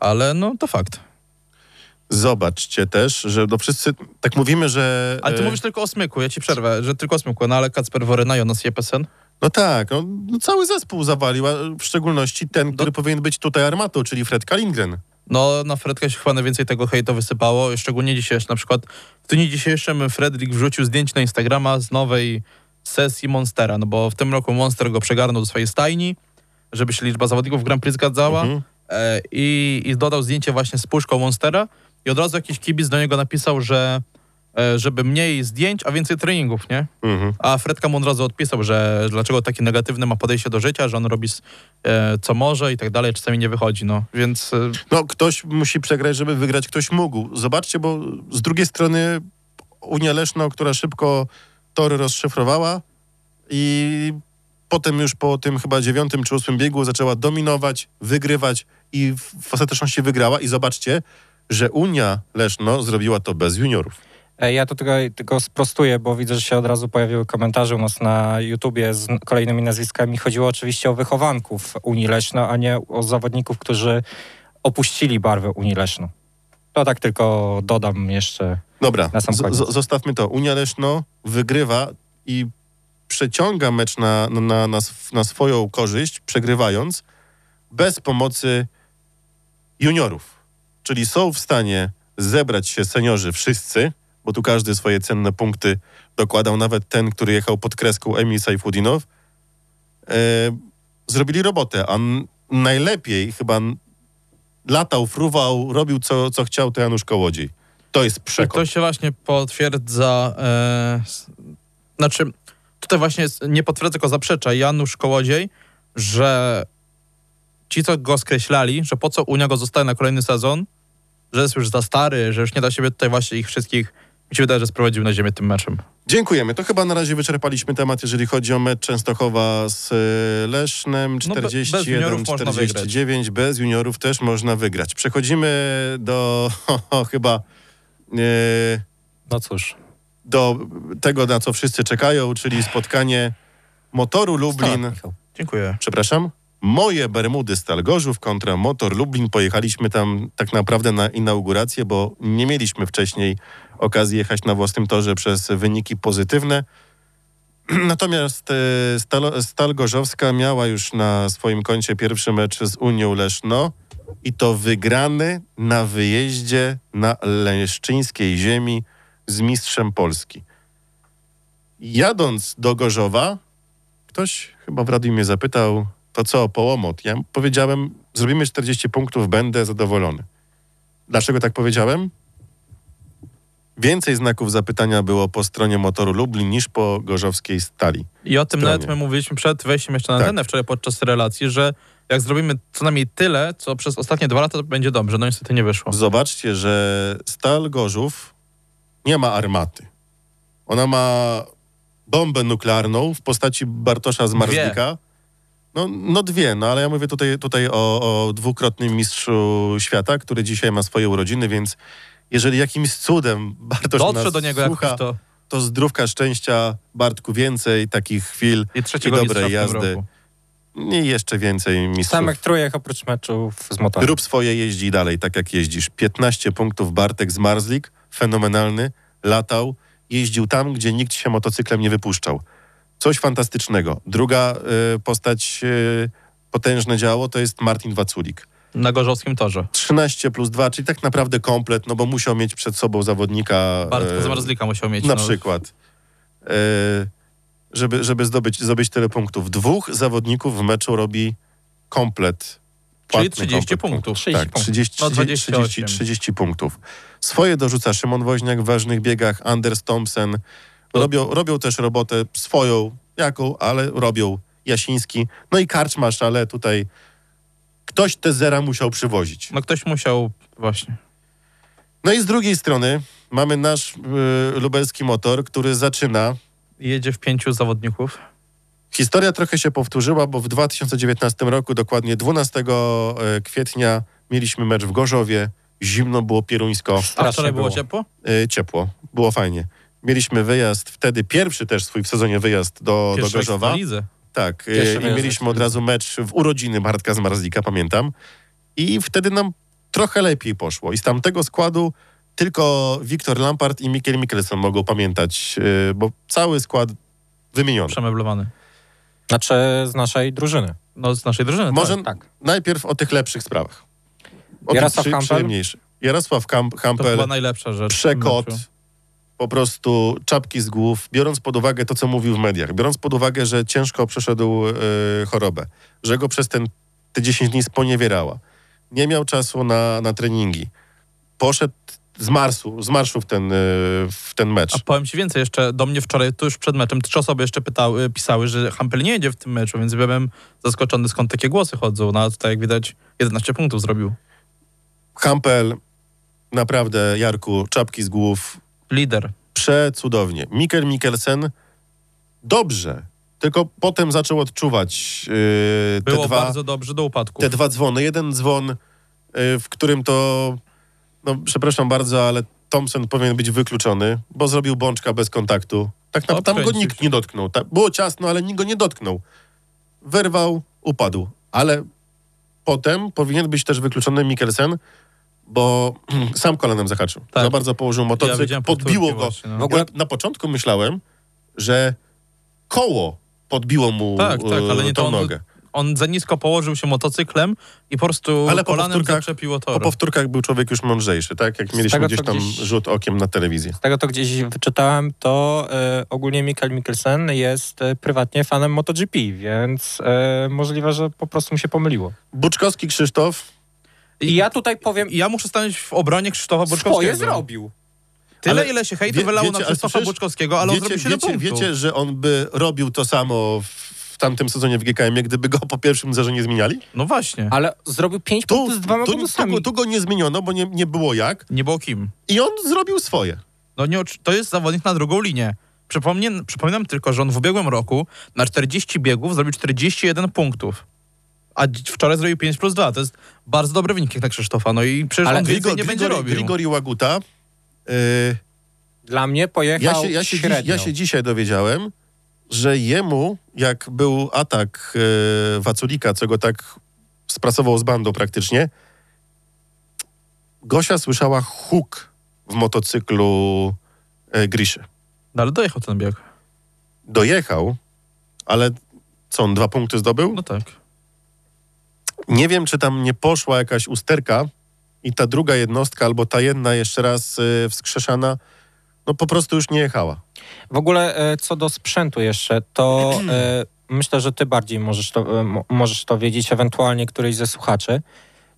Ale no to fakt. Zobaczcie też, że no wszyscy tak mówimy, że... Ale ty e, mówisz tylko o Smyku, ja ci przerwę, że tylko o Smyku, no ale Kacper Woryna, Jonas Jeppesen. No tak, no, no cały zespół zawalił, a w szczególności ten, który powinien być tutaj armatą, czyli Fred Kalingren. No na Fredkę się chyba najwięcej tego hejtu wysypało, szczególnie dzisiaj, na przykład w dniu dzisiejszym Fredrik wrzucił zdjęcie na Instagrama z nowej sesji Monstera, no bo w tym roku Monster go przegarnął do swojej stajni, żeby się liczba zawodników w Grand Prix zgadzała. Mhm. e, i, i dodał zdjęcie właśnie z puszką Monstera i od razu jakiś kibic do niego napisał, że e, żeby mniej zdjęć, a więcej treningów, nie? Mhm. A Fredka mu od razu odpisał, że dlaczego taki negatywny ma podejście do życia, że on robi s- e, co może i tak dalej, czasami nie wychodzi, no. Więc e, No, ktoś musi przegrać, żeby wygrać, ktoś mógł. Zobaczcie, bo z drugiej strony Unia Leszno, która szybko tory rozszyfrowała i potem już po tym chyba dziewiątym czy ósmym biegu zaczęła dominować, wygrywać i w- w ostateczności wygrała. I zobaczcie, że Unia Leszno zrobiła to bez juniorów. E, Ja to tylko, tylko sprostuję, bo widzę, że się od razu pojawiły komentarze u nas na YouTubie z n- kolejnymi nazwiskami. Chodziło oczywiście o wychowanków Unii Leszno, a nie o zawodników, którzy opuścili barwy Unii Leszno. To tak tylko dodam jeszcze. Dobra, Na sam z- koniec. z- zostawmy to. Unia Leszno wygrywa i przeciąga mecz na, na, na, na, sw- na swoją korzyść, przegrywając bez pomocy juniorów. Czyli są w stanie zebrać się seniorzy wszyscy, bo tu każdy swoje cenne punkty dokładał, nawet ten, który jechał pod kreską Emil Sajfudinow. E, zrobili robotę, a n- najlepiej chyba n- latał, fruwał, robił co, co chciał, to Janusz Kołodziej. To jest przekon. to się właśnie potwierdza, e, s- znaczy tutaj właśnie jest- nie potwierdza, tylko zaprzecza Janusz Kołodziej, że ci, co go skreślali, że po co Unia go zostaje na kolejny sezon, że jest już za stary, że już nie da siebie tutaj właśnie ich wszystkich, mi się wydaje, że sprowadził na ziemię tym meczem. Dziękujemy. To chyba na razie wyczerpaliśmy temat, jeżeli chodzi o mecz Częstochowa z y, Lesznem. No, be- bez juniorów można 41-49. bez juniorów też można wygrać. Przechodzimy do chyba y, No cóż. do tego, na co wszyscy czekają, czyli spotkanie Motoru Lublin. Michał. Dziękuję. Przepraszam. Moje Bermudy Stal Gorzów kontra Motor Lublin. Pojechaliśmy tam tak naprawdę na inaugurację, bo nie mieliśmy wcześniej okazji jechać na własnym torze przez wyniki pozytywne. Natomiast e, Stal, Stal Gorzowska miała już na swoim koncie pierwszy mecz z Unią Leszno i to wygrany na wyjeździe na leszczyńskiej ziemi z mistrzem Polski. Jadąc do Gorzowa, ktoś chyba w radiu mnie zapytał, to co, połomot? Ja powiedziałem, zrobimy 40 punktów, będę zadowolony. Dlaczego tak powiedziałem? Więcej znaków zapytania było po stronie motoru Lublin niż po gorzowskiej stali. I o tym Stronie. nawet my mówiliśmy przed wejściem jeszcze na Tak. antenę wczoraj podczas relacji, że jak zrobimy co najmniej tyle, co przez ostatnie dwa lata, to będzie dobrze. No niestety nie wyszło. Zobaczcie, że Stal Gorzów nie ma armaty. Ona ma bombę nuklearną w postaci Bartosza Zmarzlika. No, no dwie, no ale ja mówię tutaj, tutaj o, o dwukrotnym mistrzu świata, który dzisiaj ma swoje urodziny, więc jeżeli jakimś cudem Bartosz Dotrze nas do niego słucha, jakoś to to zdrówka szczęścia Bartku więcej takich chwil i trzeciego dobrej mistrza w tym jazdy. roku. i jeszcze więcej mistrzów. Samek trójek oprócz meczów z motorem. Rób swoje, jeździ dalej, tak jak jeździsz. 15 punktów Bartek z Marzlik, fenomenalny, latał, jeździł tam, gdzie nikt się motocyklem nie wypuszczał. Coś fantastycznego. Druga y, postać, y, potężne działo, to jest Martin Waculik. Na gorzowskim torze. 13 plus 2, czyli tak naprawdę komplet, no bo musiał mieć przed sobą zawodnika... Bartka y, Zmarzlika musiał mieć. na no. przykład. E, żeby żeby zdobyć, zdobyć tyle punktów. Dwóch zawodników w meczu robi komplet. Płatny Czyli 30 punktów. 30 Tak, punktów. 30, No, 30, 30, 28. 30 punktów. Swoje dorzuca Szymon Woźniak w ważnych biegach, Anders Thompson. Robią, robią też robotę swoją, jaką, ale robią. Jasiński. No i Karczmasz, ale tutaj ktoś te zera musiał przywozić. No ktoś musiał właśnie. No i z drugiej strony mamy nasz y, lubelski motor, który zaczyna Jedzie w pięciu zawodników. Historia trochę się powtórzyła, bo w 2019 roku, dokładnie 12 e, kwietnia, mieliśmy mecz w Gorzowie. Zimno było pieruńsko, A Strasznie wczoraj było było. ciepło? e, ciepło, było fajnie. Mieliśmy wyjazd, wtedy pierwszy też swój w sezonie wyjazd do, do Pierwszy raz Gorzowa. w lidze. Tak, e, Pierwszy i wyjazd mieliśmy na od razu mecz w urodziny Bartka Zmarzlika, pamiętam. I wtedy nam trochę lepiej poszło. I z tamtego składu tylko Wiktor Lampard i Mikkel Mikkelsen mogą pamiętać, e, bo cały skład wymieniony. Przemeblowany. Znaczy z naszej drużyny. No z naszej drużyny. Może tak. tak. najpierw o tych lepszych sprawach. O Jarosław tych przy- Hampel? przyjemniejszych. Jarosław Kamp, To była Hampel, najlepsza rzecz. w przekot, meczu. po prostu czapki z głów, biorąc pod uwagę to, co mówił w mediach, biorąc pod uwagę, że ciężko przeszedł e, chorobę, że go przez ten, te 10 dni sponiewierała, nie miał czasu na, na treningi, poszedł z marsu, z marszu w ten, e, w ten mecz. A powiem ci więcej, jeszcze do mnie wczoraj, tuż przed meczem, trzy osoby jeszcze pytały, pisały, że Hampel nie jedzie w tym meczu, więc byłem zaskoczony, skąd takie głosy chodzą. No a tutaj, jak widać, 11 punktów zrobił. Hampel, naprawdę, Jarku, czapki z głów, Lider. przecudownie. Mikkel Mikkelsen dobrze, tylko potem zaczął odczuwać yy, te, Było dwa, bardzo dobrze do upadku. te dwa dzwony. Jeden dzwon, yy, w którym to, no przepraszam bardzo, ale Thompson powinien być wykluczony, bo zrobił bączka bez kontaktu. Tak na, tam go Odkręcił nikt się. nie dotknął. Ta, było ciasno, ale nikt go nie dotknął. Wyrwał, upadł. Ale potem powinien być też wykluczony Mikkelsen, bo sam kolanem zahaczył. Tak. Za bardzo położył motocykl, widziałem podbiło powtórki go. właśnie, no. W ogóle ja na początku myślałem, że koło podbiło mu Tak, tak, ale nie tą to on, nogę. on za nisko położył się motocyklem i po prostu Ale ale po kolanem powtórkach- zaczepiło Po tor. powtórkach był człowiek już mądrzejszy, tak? Jak Z mieliśmy tego, gdzieś co tam gdzieś- rzut okiem na telewizję. Z tego to gdzieś wyczytałem, to e, ogólnie Mikael Mikkelsen jest e, prywatnie fanem MotoGP, więc e, możliwe, że po prostu mu się pomyliło. Buczkowski Krzysztof, I ja tutaj powiem, I ja muszę stanąć w obronie Krzysztofa Buczkowskiego. swoje zrobił. Tyle, Ale ile się wie- hejtu wylało wiecie, na ale Krzysztofa przecież Buczkowskiego, ale on wiecie, zrobił 7 wiecie, punktów. wiecie, że on by robił to samo w, w tamtym sezonie w GKM-ie, gdyby go po pierwszym zerze nie zmieniali? No właśnie. Ale zrobił pięć Tu, punktów z dwoma tu, tu, bonusami. go- tu go nie zmieniono, bo nie, nie było jak. Nie było kim. I on zrobił swoje. No nie, oczy- to jest zawodnik na drugą linię. Przypomnę, przypominam tylko, że on w ubiegłym roku na 40 biegów zrobił 41 punktów. A dzi- wczoraj zrobił 5 plus 2. To jest bardzo dobry wynik jak na Krzysztofa. No i przecież Ale on więcej nie Grigori- będzie robił. Grigori Łaguta... y, Dla mnie pojechał Ja się, ja, się dziś, średnio. ja się dzisiaj dowiedziałem, że jemu, jak był atak e, Waculika, co go tak sprasował z bandą praktycznie, Gosia słyszała huk w motocyklu e, Griszy. No ale dojechał ten bieg. Dojechał, ale co, on dwa punkty zdobył? No tak. Nie wiem, czy tam nie poszła jakaś usterka i ta druga jednostka, albo ta jedna jeszcze raz e, wskrzeszana, no po prostu już nie jechała. W ogóle e, co do sprzętu jeszcze, to e, myślę, że ty bardziej możesz to, e, mo- możesz to wiedzieć, ewentualnie któryś ze słuchaczy.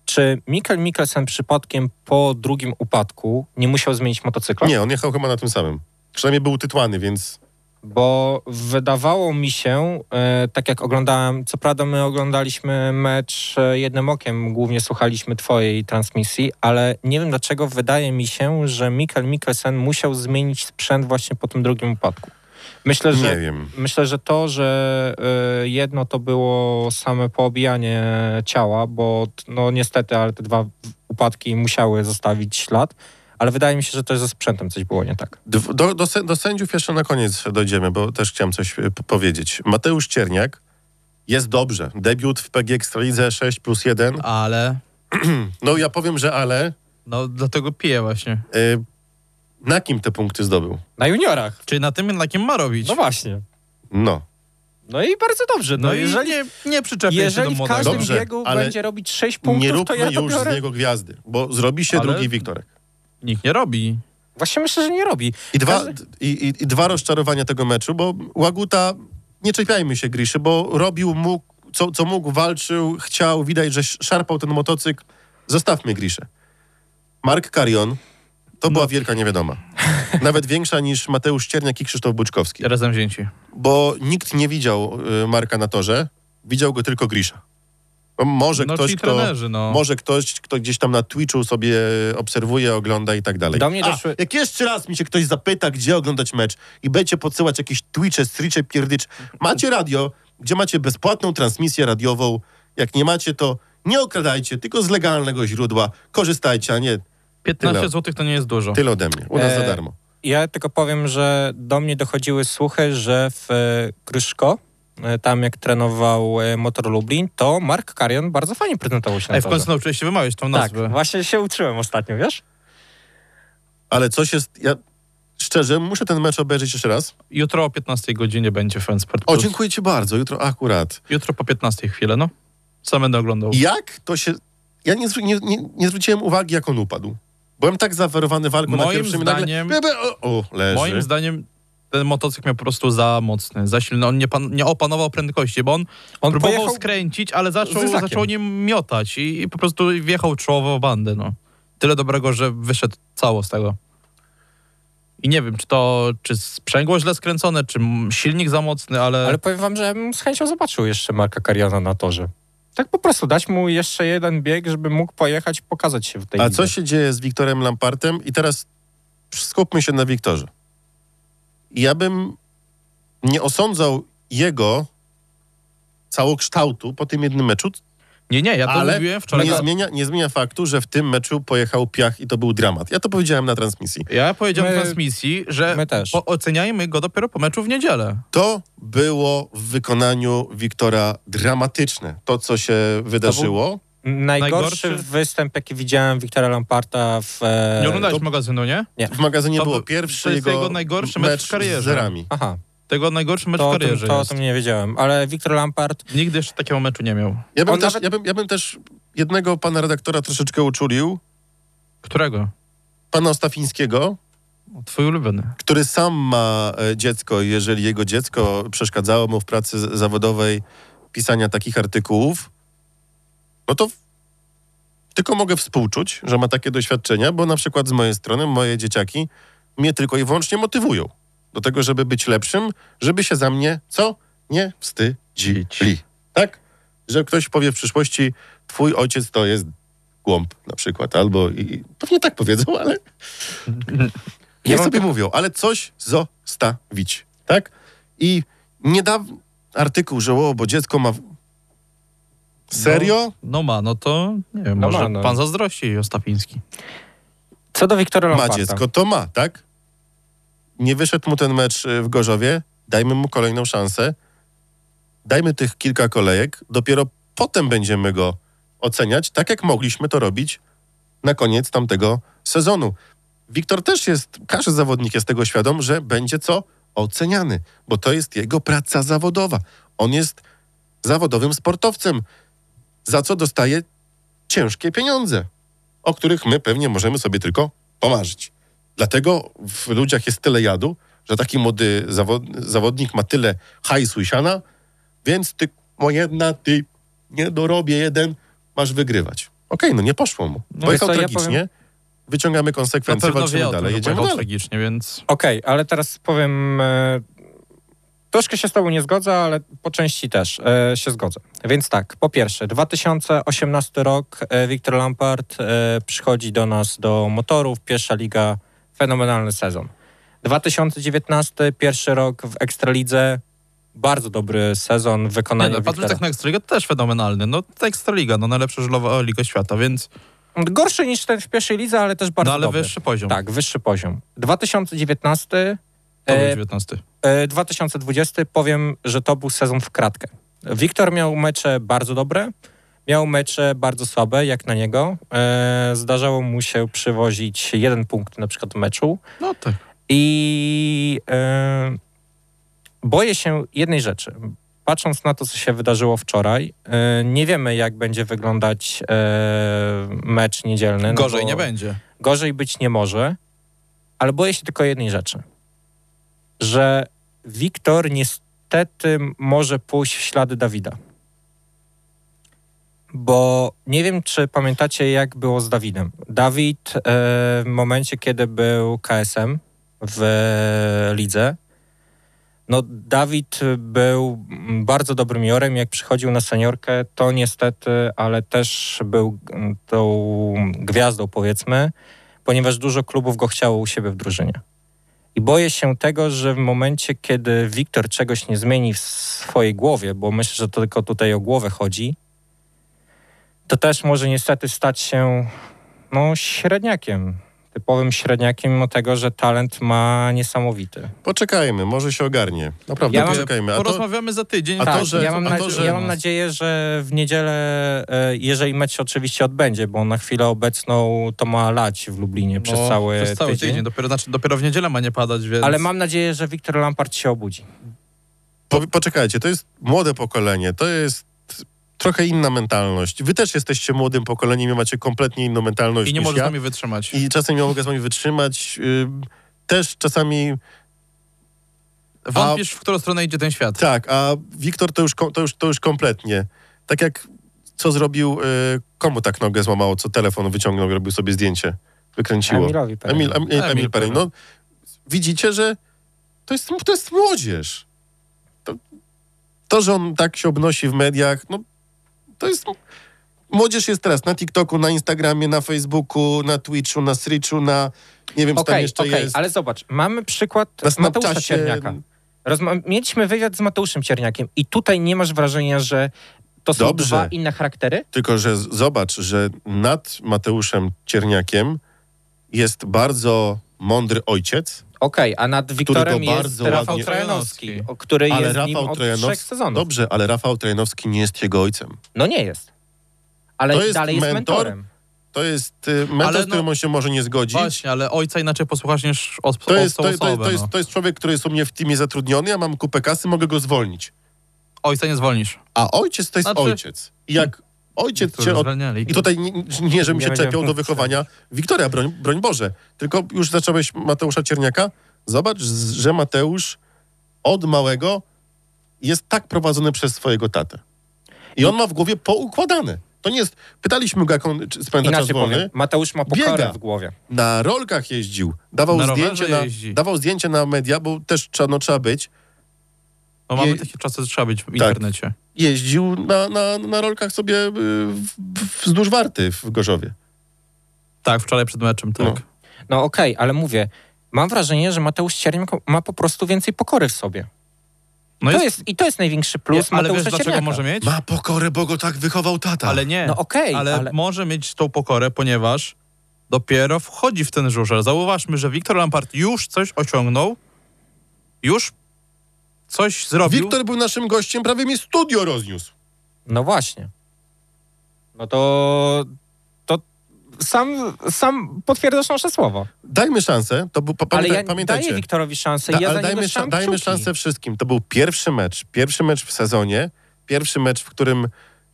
Czy Mikkel Mikkelsen przypadkiem po drugim upadku nie musiał zmienić motocykla? Nie, on jechał chyba na tym samym. Przynajmniej był tytłany, więc bo wydawało mi się, e, tak jak oglądałem, co prawda my oglądaliśmy mecz e, jednym okiem, głównie słuchaliśmy twojej transmisji, ale nie wiem dlaczego wydaje mi się, że Mikkel Mikkelsen musiał zmienić sprzęt właśnie po tym drugim upadku. Myślę, że Nie wiem. Myślę, że to, że y, jedno to było same poobijanie ciała, bo t- no niestety, ale te dwa upadki musiały zostawić ślad, ale wydaje mi się, że też ze sprzętem coś było nie tak. Dw- Do, do, sę- do sędziów jeszcze na koniec dojdziemy, bo też chciałem coś e, p- powiedzieć. Mateusz Cierniak jest dobrze. Debiut w PG Ekstralidze 6 plus 1. Ale No ja powiem, że ale no dlatego piję właśnie. e, na kim te punkty zdobył? Na juniorach. Czyli na tym, na kim ma robić. No właśnie. No. No i bardzo dobrze. No, No i jeżeli, nie, nie przyczepię się jeżeli do w młodego. każdym Dobrze, biegu ale będzie robić 6 punktów, nie to róbmy ja to już biorę... z niego gwiazdy, bo zrobi się Ale- drugi Wiktorek. Nikt nie robi. Właśnie myślę, że nie robi. I dwa, Każdy- i, i, I dwa rozczarowania tego meczu, bo Łaguta, nie czepiajmy się Griszy, bo robił mógł, co, co mógł, walczył, chciał, widać, że sz- szarpał ten motocykl. Zostawmy Griszę. Mark Karion, to No. była wielka niewiadoma. Nawet większa niż Mateusz Cierniak i Krzysztof Buczkowski. Razem wzięci. Bo nikt nie widział y, Marka na torze, widział go tylko Grisza. No, może, No ktoś, czyli kto, trenerzy, no. może ktoś, kto gdzieś tam na Twitchu sobie obserwuje, ogląda i tak dalej. Do mnie A, doszły- Jak jeszcze raz mi się ktoś zapyta, gdzie oglądać mecz i będzie podsyłać jakieś Twitche, stricze, pierdycz. Macie radio, gdzie macie bezpłatną transmisję radiową. Jak nie macie, to nie okradajcie, tylko z legalnego źródła korzystajcie, a nie 15 Tyle. zł to nie jest dużo. tyle ode mnie. U nas za E, darmo. Ja tylko powiem, że do mnie dochodziły słuchy, że w e, Kryszko, e, tam jak trenował e, Motor Lublin, to Mark Karion bardzo fajnie prezentował się na Ej, w torze. końcu nauczyłeś się wymawiać Tak, tą nazwę. właśnie się uczyłem ostatnio, wiesz? Ale coś jest... Ja szczerze muszę ten mecz obejrzeć jeszcze raz. Jutro o 15 godzinie będzie Fansport O, Plus. dziękuję ci bardzo. Jutro akurat. Jutro po 15 chwilę, no. Co będę oglądał? Jak to się... Ja nie, zwró- nie, nie, nie zwróciłem uwagi, jak on upadł. Byłem tak zawerowany walką na Moim pierwszym i zdaniem- nagle... Bebe, O, o, leży. Moim zdaniem ten motocykl miał po prostu za mocny, za silny. On nie, pan, nie opanował prędkości, bo on, On próbował pojechał- skręcić, ale zaczął, Zygzakiem. zaczął nim miotać i, i po prostu wjechał czołowo w bandę. No. Tyle dobrego, że wyszedł cało z tego. I nie wiem, czy to czy sprzęgło źle skręcone, czy m- silnik za mocny, Tak. ale, Ale powiem wam, że ja bym z chęcią zobaczył jeszcze Marka Kariona na torze. Tak po prostu dać mu jeszcze jeden bieg, żeby mógł pojechać i pokazać się w tej A lidze. co się dzieje z Wiktorem Lampartem? I teraz skupmy się na Wiktorze. Ja bym nie osądzał jego całokształtu po tym jednym meczu, nie, nie, ja to ale mówiłem wczoraj. nie, zmienia, nie zmienia faktu, że w tym meczu pojechał piach i to był dramat. Ja to powiedziałem na transmisji. Ja powiedziałem My- w transmisji, że my też. Po, oceniajmy go dopiero po meczu w niedzielę. To było w wykonaniu Wiktora dramatyczne. To, co się wydarzyło. Najgorszy, Najgorszy- występ, jaki widziałem Wiktora Lamparta w... e, Nie oglądałeś magazynu, nie? W magazynie To było był- pierwszy to jest jego, jego najgorszy mecz w karierze. z zerami. Aha, Tego najgorszy mecz to, w o tym, karierze to o jest. tym nie wiedziałem, ale Wiktor Lampart Nigdy jeszcze takiego meczu nie miał. Ja bym, On też, nawet- ja, bym, ja bym też jednego pana redaktora troszeczkę uczulił, Którego? pana Ostafińskiego, Twój ulubiony. który sam ma e, dziecko, i jeżeli jego dziecko przeszkadzało mu w pracy z- zawodowej pisania takich artykułów, no to w- tylko mogę współczuć, że ma takie doświadczenia, bo na przykład z mojej strony moje dzieciaki mnie tylko i wyłącznie motywują do tego, żeby być lepszym, żeby się za mnie co? Nie wstydzili. Tak? Że ktoś powie w przyszłości, twój ojciec to jest głąb na przykład, albo i, i pewnie tak powiedzą, ale Niech sobie mówią, ale coś zostawić, tak? I niedawno artykuł, że o, bo dziecko ma... Serio? No ma, no to nie wiem, No może ma, no. pan zazdrości Ostapiński. Co do Wiktora ma Lamparta. dziecko, to ma, tak? Nie wyszedł mu ten mecz y, w Gorzowie, dajmy mu kolejną szansę, dajmy tych kilka kolejek, dopiero potem będziemy go oceniać, tak jak mogliśmy to robić na koniec tamtego sezonu. Wiktor też jest, każdy zawodnik jest tego świadom, że będzie co? Oceniany, bo to jest jego praca zawodowa. On jest zawodowym sportowcem, za co dostaje ciężkie pieniądze, o których my pewnie możemy sobie tylko pomarzyć. Dlatego w ludziach jest tyle jadu, że taki młody zawod- zawodnik ma tyle hajsu i siana, więc ty, o jedna, ty nie dorobię jeden, masz wygrywać. Okej, no nie poszło mu. No Pojechał wiesz co, ja tragicznie, powiem- wyciągamy Na konsekwencje, pewno walczymy wie o tym, dalej, że jedziemy pojechał dalej. tragicznie, więc Okej, ale teraz powiem e, Troszkę się z tobą nie zgodzę, ale po części też e, się zgodzę. Więc tak, po pierwsze, 2018 rok, e, Wiktor Lampard e, przychodzi do nas do motorów, pierwsza liga, fenomenalny sezon. 2019, pierwszy rok w Ekstralidze, bardzo dobry sezon w Nie, wykonaniu no, Wiktora. patrzę tak na Ekstraligę, to też fenomenalny. No, ta Ekstraliga, no najlepsza żulowa liga świata, więc Gorszy niż ten w pierwszej lidze, ale też bardzo no, ale dobry. wyższy poziom. Tak, wyższy poziom. 2019, To był e, 19. E, 2020 powiem, że to był sezon w kratkę. Wiktor miał mecze bardzo dobre, miał mecze bardzo słabe, jak na niego. E, Zdarzało mu się przywozić jeden punkt na przykład w meczu. No tak. I e, boję się jednej rzeczy. Patrząc na to, co się wydarzyło wczoraj, e, nie wiemy, jak będzie wyglądać e, mecz niedzielny. no Gorzej bo- nie będzie. gorzej być nie może, ale boję się tylko jednej rzeczy, że Wiktor niestety może pójść w ślady Dawida. Bo nie wiem, czy pamiętacie, jak było z Dawidem. Dawid e, w momencie, kiedy był KSM w lidze, no Dawid był mm, bardzo dobrym jorem. Jak przychodził na seniorkę, to niestety, ale też był mm, tą gwiazdą, powiedzmy ponieważ dużo klubów go chciało u siebie w drużynie. I boję się tego, że w momencie, kiedy Wiktor czegoś nie zmieni w swojej głowie, bo myślę, że to tylko tutaj o głowę chodzi, to też może niestety stać się no, średniakiem. Typowym średniakiem, mimo tego, że talent ma niesamowity. Poczekajmy, może się ogarnie. Naprawdę, Ja mam- poczekajmy. A to, Porozmawiamy za tydzień. A to, tak, że- ja, mam a to, nadzie- że- ja mam nadzieję, że w niedzielę, e, jeżeli mecz się oczywiście odbędzie, bo na chwilę obecną to ma lać w Lublinie przez, No, cały przez cały tydzień. Dopiero, znaczy, dopiero w niedzielę ma nie padać, więc... Ale mam nadzieję, że Wiktor Lampard się obudzi. po, poczekajcie, to jest młode pokolenie, to jest trochę inna mentalność. Wy też jesteście młodym pokoleniem i macie kompletnie inną mentalność I nie niż może z ja. nami wytrzymać. I czasem ja mogę z wami wytrzymać. y, Też czasami Wątpisz, w którą stronę idzie ten świat. tak, a Wiktor to już, ko- to już, to już kompletnie. Tak jak co zrobił, y, komu tak nogę złamało, co telefon wyciągnął, robił sobie zdjęcie. Wykręciło. Emilowi pewnie. Emil, Emil, Emil, Emil Perrin. No, widzicie, że to jest, to jest młodzież. To, to, że on tak się obnosi w mediach, no to jest... Młodzież jest teraz na TikToku, na Instagramie, na Facebooku, na Twitchu, na Sreachu, na... Nie wiem, co tam Okej, jeszcze okej, jest. ale zobacz, mamy przykład Na Mateusza Snapchacie- Cierniaka. Rozma- mieliśmy wywiad z Mateuszem Cierniakiem i tutaj nie masz wrażenia, że to są Dobrze. dwa inne charaktery? Tylko, że z- zobacz, że nad Mateuszem Cierniakiem jest bardzo mądry ojciec, Okej, a nad Wiktorem go jest bardzo Rafał ładnie- Trojanowski, o- który ale jest nim Rafał od trzech Trojanowski... sezonów. Dobrze, ale Rafał Trojanowski nie jest jego ojcem. No nie jest. Ale To jest dalej jest mentor? mentorem. To jest y, mentor, Ale z którym no- on się może nie zgodzić. Właśnie, ale ojca inaczej posłuchasz niż os- To jest, tą to, to, osobę. to, jest, no. to jest człowiek, który jest u mnie w teamie zatrudniony, ja mam kupę kasy, mogę go zwolnić. Ojca nie zwolnisz. A ojciec to jest Znaczy- ojciec. I jak ojciec cię... Od... zwalniali. I tutaj nie, nie żebym Nie się będziemy- czepiał do wychowania Wiktoria, broń, broń Boże. Tylko już zacząłeś Mateusza Cierniaka. Zobacz, z- że Mateusz od małego jest tak prowadzony przez swojego tatę. I on ma w głowie poukładane. To nie jest... Pytaliśmy go, jak on czy spędza czas Inaczej wolny. powiem, Mateusz ma pokorę Biega. w głowie. na rolkach jeździł, dawał, Na rowerze zdjęcie, na, jeździ. dawał zdjęcie na media, bo też trzeba, no, trzeba być. No mamy jej- takie czasy, że trzeba być Tak. w internecie. Jeździł na, na, na rolkach sobie y, w, w, wzdłuż warty w Gorzowie. Tak, wczoraj przed meczem, tak. No. No okej, ale mówię, mam wrażenie, że Mateusz Cierniak ma po prostu więcej pokory w sobie. No to jest, I to jest największy plus no ale wiesz Mateusza dlaczego Cierniaka. może mieć? Ma pokorę, bo go tak wychował tata. Ale nie. No okej, ale, ale- może mieć tą pokorę, ponieważ dopiero wchodzi w ten żużel. Zauważmy, że Wiktor Lampard już coś osiągnął, już coś zrobił. Wiktor był naszym gościem, prawie mi studio rozniósł. No właśnie. No to, to sam, sam potwierdzasz nasze słowo. Dajmy szansę, to był, pa, Ale pamiętaj, ja tak, pamiętajcie. daję Wiktorowi szansę. Da- ja ale za niego dajmy, trzymam szan- dajmy kciuki. szansę wszystkim. To był pierwszy mecz. Pierwszy mecz w sezonie. Pierwszy mecz, w którym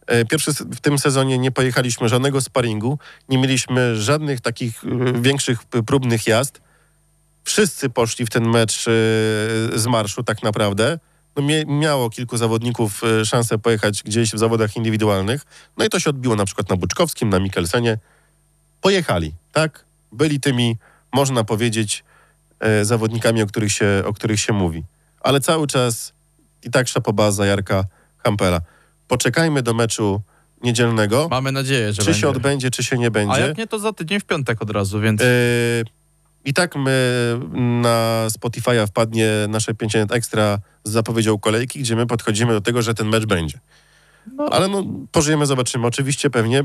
e, pierwszy se- w tym sezonie nie pojechaliśmy żadnego sparingu. Nie mieliśmy żadnych takich e, większych p- próbnych jazd. Wszyscy poszli w ten mecz e, z marszu tak naprawdę. No, mie- miało kilku zawodników e, szansę pojechać gdzieś w zawodach indywidualnych. No i to się odbiło na przykład na Buczkowskim, na Mikkelsenie. Pojechali, tak? Byli tymi, można powiedzieć, e, zawodnikami, o których, się, o których się mówi. Ale cały czas i tak szapoba za Jarka Hampera. Poczekajmy do meczu niedzielnego, Mamy nadzieję, że czy będzie. się odbędzie, czy się nie będzie. A jak nie, to za tydzień w piątek od razu, więc Yy, I tak my na Spotify'a wpadnie nasze 5 minut ekstra z zapowiedzią kolejki, gdzie my podchodzimy do tego, że ten mecz będzie. Ale no, pożyjemy, zobaczymy. Oczywiście pewnie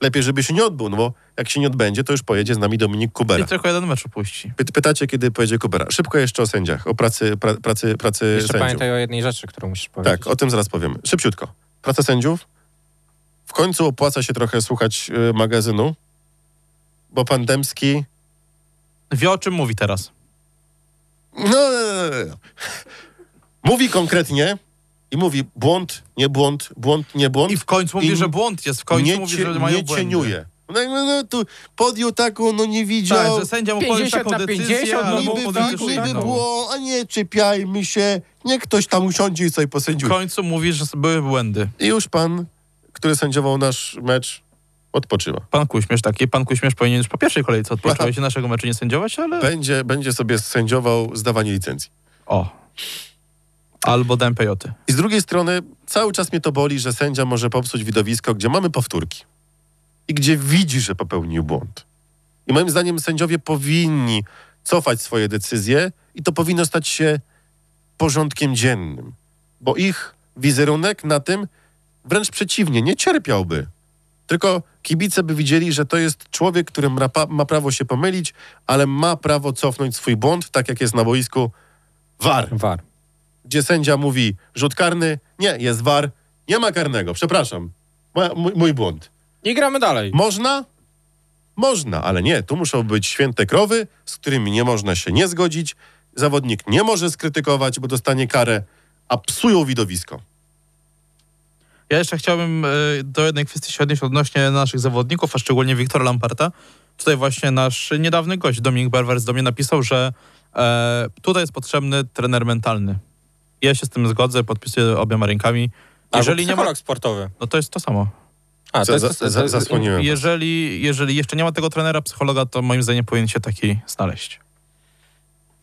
lepiej, żeby się nie odbył, no bo jak się nie odbędzie, to już pojedzie z nami Dominik i Kubera. tylko jeden mecz opuści. Py- Pytacie, kiedy pojedzie Kubera. Szybko jeszcze o sędziach, o pracy, pra, pracy, pracy Jeszcze sędziów. pamiętaj o jednej rzeczy, którą musisz powiedzieć. Tak, o tym zaraz powiemy. Szybciutko. Praca sędziów. W końcu opłaca się trochę słuchać y, magazynu, bo pan Dębski Wie o czym mówi teraz. No, no, no, no. mówi konkretnie i mówi błąd, nie błąd, błąd, nie błąd. I w końcu mówi, I że błąd jest, w końcu nie mówi, cie- że mają Nie błędy. cieniuje. No, no, no tu podjął taką, no nie Tak, widział. że sędzia mu powie 50 taką na decyzję, 50, no ale mu niby powie tak, taką niby inną. było, a nie czepiajmy się. Nie ktoś tam usiądzie i sobie W posędziuje. końcu mówi, że były błędy. I już pan, który sędziował nasz mecz, odpoczywa. Pan Kuśmierz taki, pan Kuśmierz powinien już po pierwszej kolejce odpocząć i naszego meczu nie sędziować, ale... Będzie, będzie sobie sędziował zdawanie licencji. O. Albo dałem pejoty. I z drugiej strony cały czas mnie to boli, że sędzia może popsuć widowisko, gdzie mamy powtórki i gdzie widzi, że popełnił błąd. I moim zdaniem sędziowie powinni cofać swoje decyzje i to powinno stać się porządkiem dziennym, bo ich wizerunek na tym wręcz przeciwnie, nie cierpiałby. Tylko kibice by widzieli, że to jest człowiek, który ma, pa- ma prawo się pomylić, ale ma prawo cofnąć swój błąd, tak jak jest na boisku VAR War. gdzie sędzia mówi rzut karny, nie, jest war, nie ma karnego, przepraszam, Moja, mój, mój błąd. I gramy dalej. Można? Można, ale nie, tu muszą być święte krowy, z którymi nie można się nie zgodzić, zawodnik nie może skrytykować, bo dostanie karę, a psują widowisko. Ja jeszcze chciałbym e, do jednej kwestii się odnieść odnośnie naszych zawodników, a szczególnie Wiktora Lamparta. Tutaj właśnie nasz niedawny gość, Dominik Barwers, do mnie napisał, że e, tutaj jest potrzebny trener mentalny. Ja się z tym zgodzę, podpisuję obiema rękami. Jeżeli nie ma, psicholog sportowy. no to jest to samo. A, Za, za, za, zasłoniłem. no. Jeżeli, jeżeli jeszcze nie ma tego trenera, psychologa, to moim zdaniem powinien się taki znaleźć.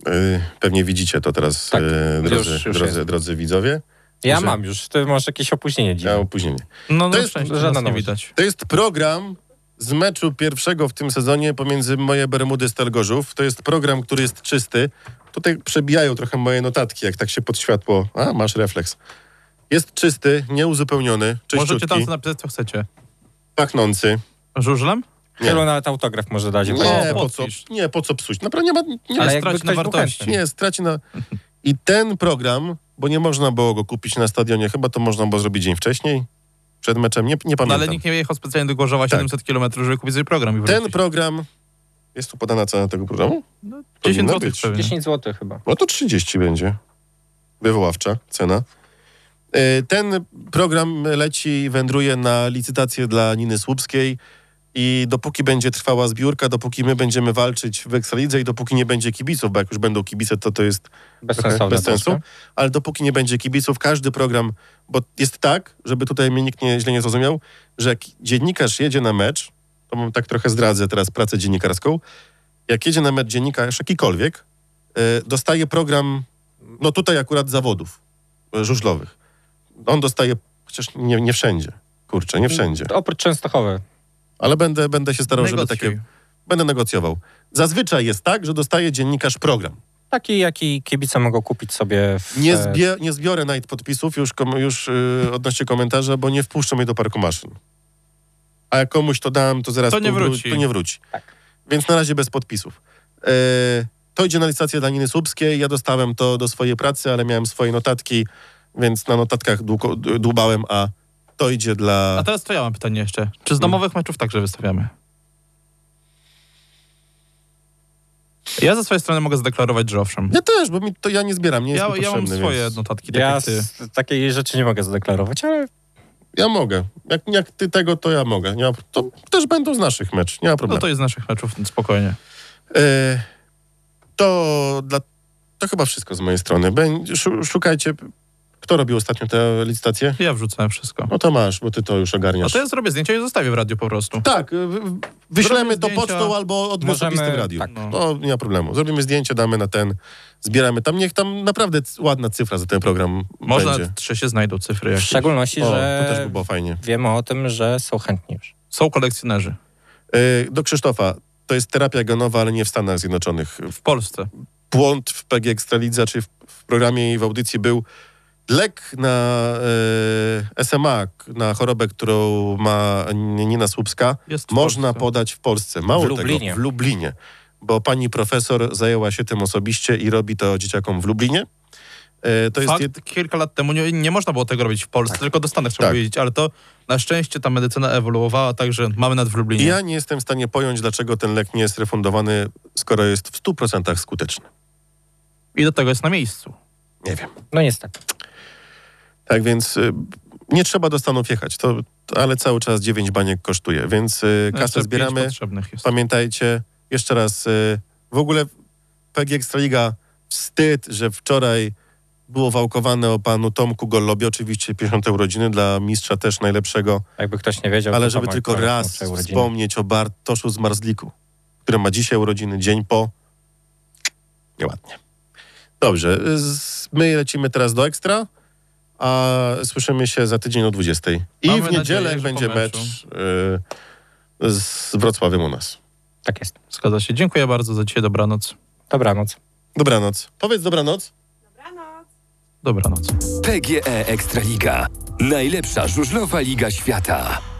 Y, pewnie widzicie to teraz, Tak, y, drodzy, już- już drodzy, jest. drodzy widzowie. Ja że- mam już, ty masz jakieś opóźnienie Ja dziwne. opóźnienie. No, To no jest szczęście, żadna nas nie nowość. widać. To jest program z meczu pierwszego w tym sezonie pomiędzy moje Bermudy z Telgorzów. To jest program, który jest czysty. Tutaj przebijają trochę moje notatki, jak tak się pod światło. A, masz refleks. Jest czysty, nieuzupełniony, Możecie tam czyściutki, sobie napisać, co chcecie. pachnący. Żużlem? Nie. Chyba nawet autograf może dać. bo- Nie, po co, podpisz. nie, po co psuć? Naprawdę nie ma... Nie, Ale Ale jakby straci na ktoś był wartości. No, chętny. nie straci na... I ten program, bo nie można było go kupić na stadionie, chyba to można było zrobić dzień wcześniej, przed meczem, nie, nie No, pamiętam. ale nikt nie jechał specjalnie do Tak. Gorzowa 700 km, żeby kupić sobie program. I Ten wrócić. program... Jest tu podana cena tego programu? 10 powinno zł być. pewnie. 10 zł chyba. No to 30 będzie. Wywoławcza cena. E, Ten program leci, wędruje na licytację dla Niny Słupskiej i dopóki będzie trwała zbiórka, dopóki my będziemy walczyć w Ekstralidze i dopóki nie będzie kibiców, bo jak już będą kibice, to to jest Bez trochę sensu. bez sensu, ale dopóki nie będzie kibiców, każdy program, bo jest tak, żeby tutaj mnie nikt nie, źle nie zrozumiał, że jak dziennikarz jedzie na mecz, to mam tak trochę zdradzę teraz pracę dziennikarską, jak jedzie na mecz dziennikarz jakikolwiek, y, dostaje program, no tutaj akurat zawodów y, żużlowych. On dostaje, chociaż nie, nie wszędzie, kurczę, nie wszędzie, Oprócz Częstochowy. ale będę, będę się starał, żeby Negocjuj. takie... Będę negocjował. Zazwyczaj jest tak, że dostaje dziennikarz program. Taki, jaki kibice mogą kupić sobie w... e, Nie, E, zbie, nie zbiorę nawet podpisów już, kom, już yy, odnośnie komentarza, bo nie wpuszczą mnie do parku maszyn. A jak komuś to dam, to zaraz To nie powró- wróci. To nie wróci. Tak. Więc na razie bez podpisów. E, to idzie na licytację dla Niny Słupskiej. Ja dostałem to do swojej pracy, ale miałem swoje notatki, więc na notatkach długo, d- dłubałem, a to idzie dla... A teraz to ja mam pytanie jeszcze. Mhm. Czy z domowych meczów także wystawiamy? Ja ze swojej strony mogę zadeklarować, że owszem. Ja też, bo mi to ja nie zbieram, nie jest Ja, mi ja mam potrzebny, swoje więc... notatki, tak Ja jak ty. s- takiej rzeczy nie mogę zadeklarować, ale Ja mogę. Jak, jak ty tego, to ja mogę. Nie ma, to też będą z naszych meczów, nie ma No problemu. to jest z naszych meczów, spokojnie. E, To, dla, to chyba wszystko z mojej strony. Będzie, szu- szukajcie, kto robił ostatnio te licytacje? Ja wrzucałem wszystko. No to masz, bo ty to już No ogarniasz. to ja zrobię zdjęcie i zostawię w radiu po prostu. Tak, w- w- Wyślemy to Zrobię zdjęcia. pocztą albo od osobistym Możemy- radiu. tak. No. No, nie ma problemu. Zrobimy zdjęcie, damy na ten, zbieramy tam. Niech tam naprawdę c- ładna cyfra za ten program Można, będzie. czy się znajdą cyfry W jakieś. szczególności, O, że to też by było fajnie. wiemy o tym, że są chętni już. Są kolekcjonerzy E, do Krzysztofa. To jest terapia genowa, ale nie w Stanach Zjednoczonych. w Polsce. Błąd w PG Ekstralidza, czy w, w programie i w audycji był lek na e, SMA, k- na chorobę, którą ma N- Nina Słupska. Jest w Można Polsce. podać w Polsce. Mało W Lublinie. tego, w Lublinie. Bo pani profesor zajęła się tym osobiście i robi to dzieciakom w Lublinie. E, to jest Fakt, jed... kilka lat temu nie, nie można było tego robić w Polsce, tylko do Stanach trzeba Tak. powiedzieć, ale to na szczęście ta medycyna ewoluowała, także mamy nad w Lublinie. Ja nie jestem w stanie pojąć, dlaczego ten lek nie jest refundowany, skoro jest w 100% skuteczny. I do tego jest na miejscu. Nie wiem. No niestety. Tak więc y, nie trzeba do Stanów jechać, to, to, ale cały czas 9 baniek kosztuje, więc y, No, jeszcze kasę pięć zbieramy. Potrzebnych jest. Pamiętajcie, jeszcze raz, y, w ogóle PG Ekstraliga, wstyd, że wczoraj było wałkowane o panu Tomku Gollobie, oczywiście 50. urodziny dla mistrza też najlepszego, Jakby ktoś nie wiedział. ale to żeby tam tylko akurat raz włączył rodzinę. wspomnieć o Bartoszu Zmarzliku, który ma dzisiaj urodziny, dzień po. Nieładnie. Dobrze, z, my lecimy teraz do Ekstra, a słyszymy się za tydzień o 20. I Mamy w niedzielę nadzieję, że będzie po mecz meczu. y, z Wrocławiem u nas. Tak jest. Zgadza się. Dziękuję bardzo za dzisiaj. Dobranoc. Dobranoc. Dobranoc. Powiedz dobranoc. Dobranoc. E PGE Ekstraliga. Najlepsza żużlowa liga świata.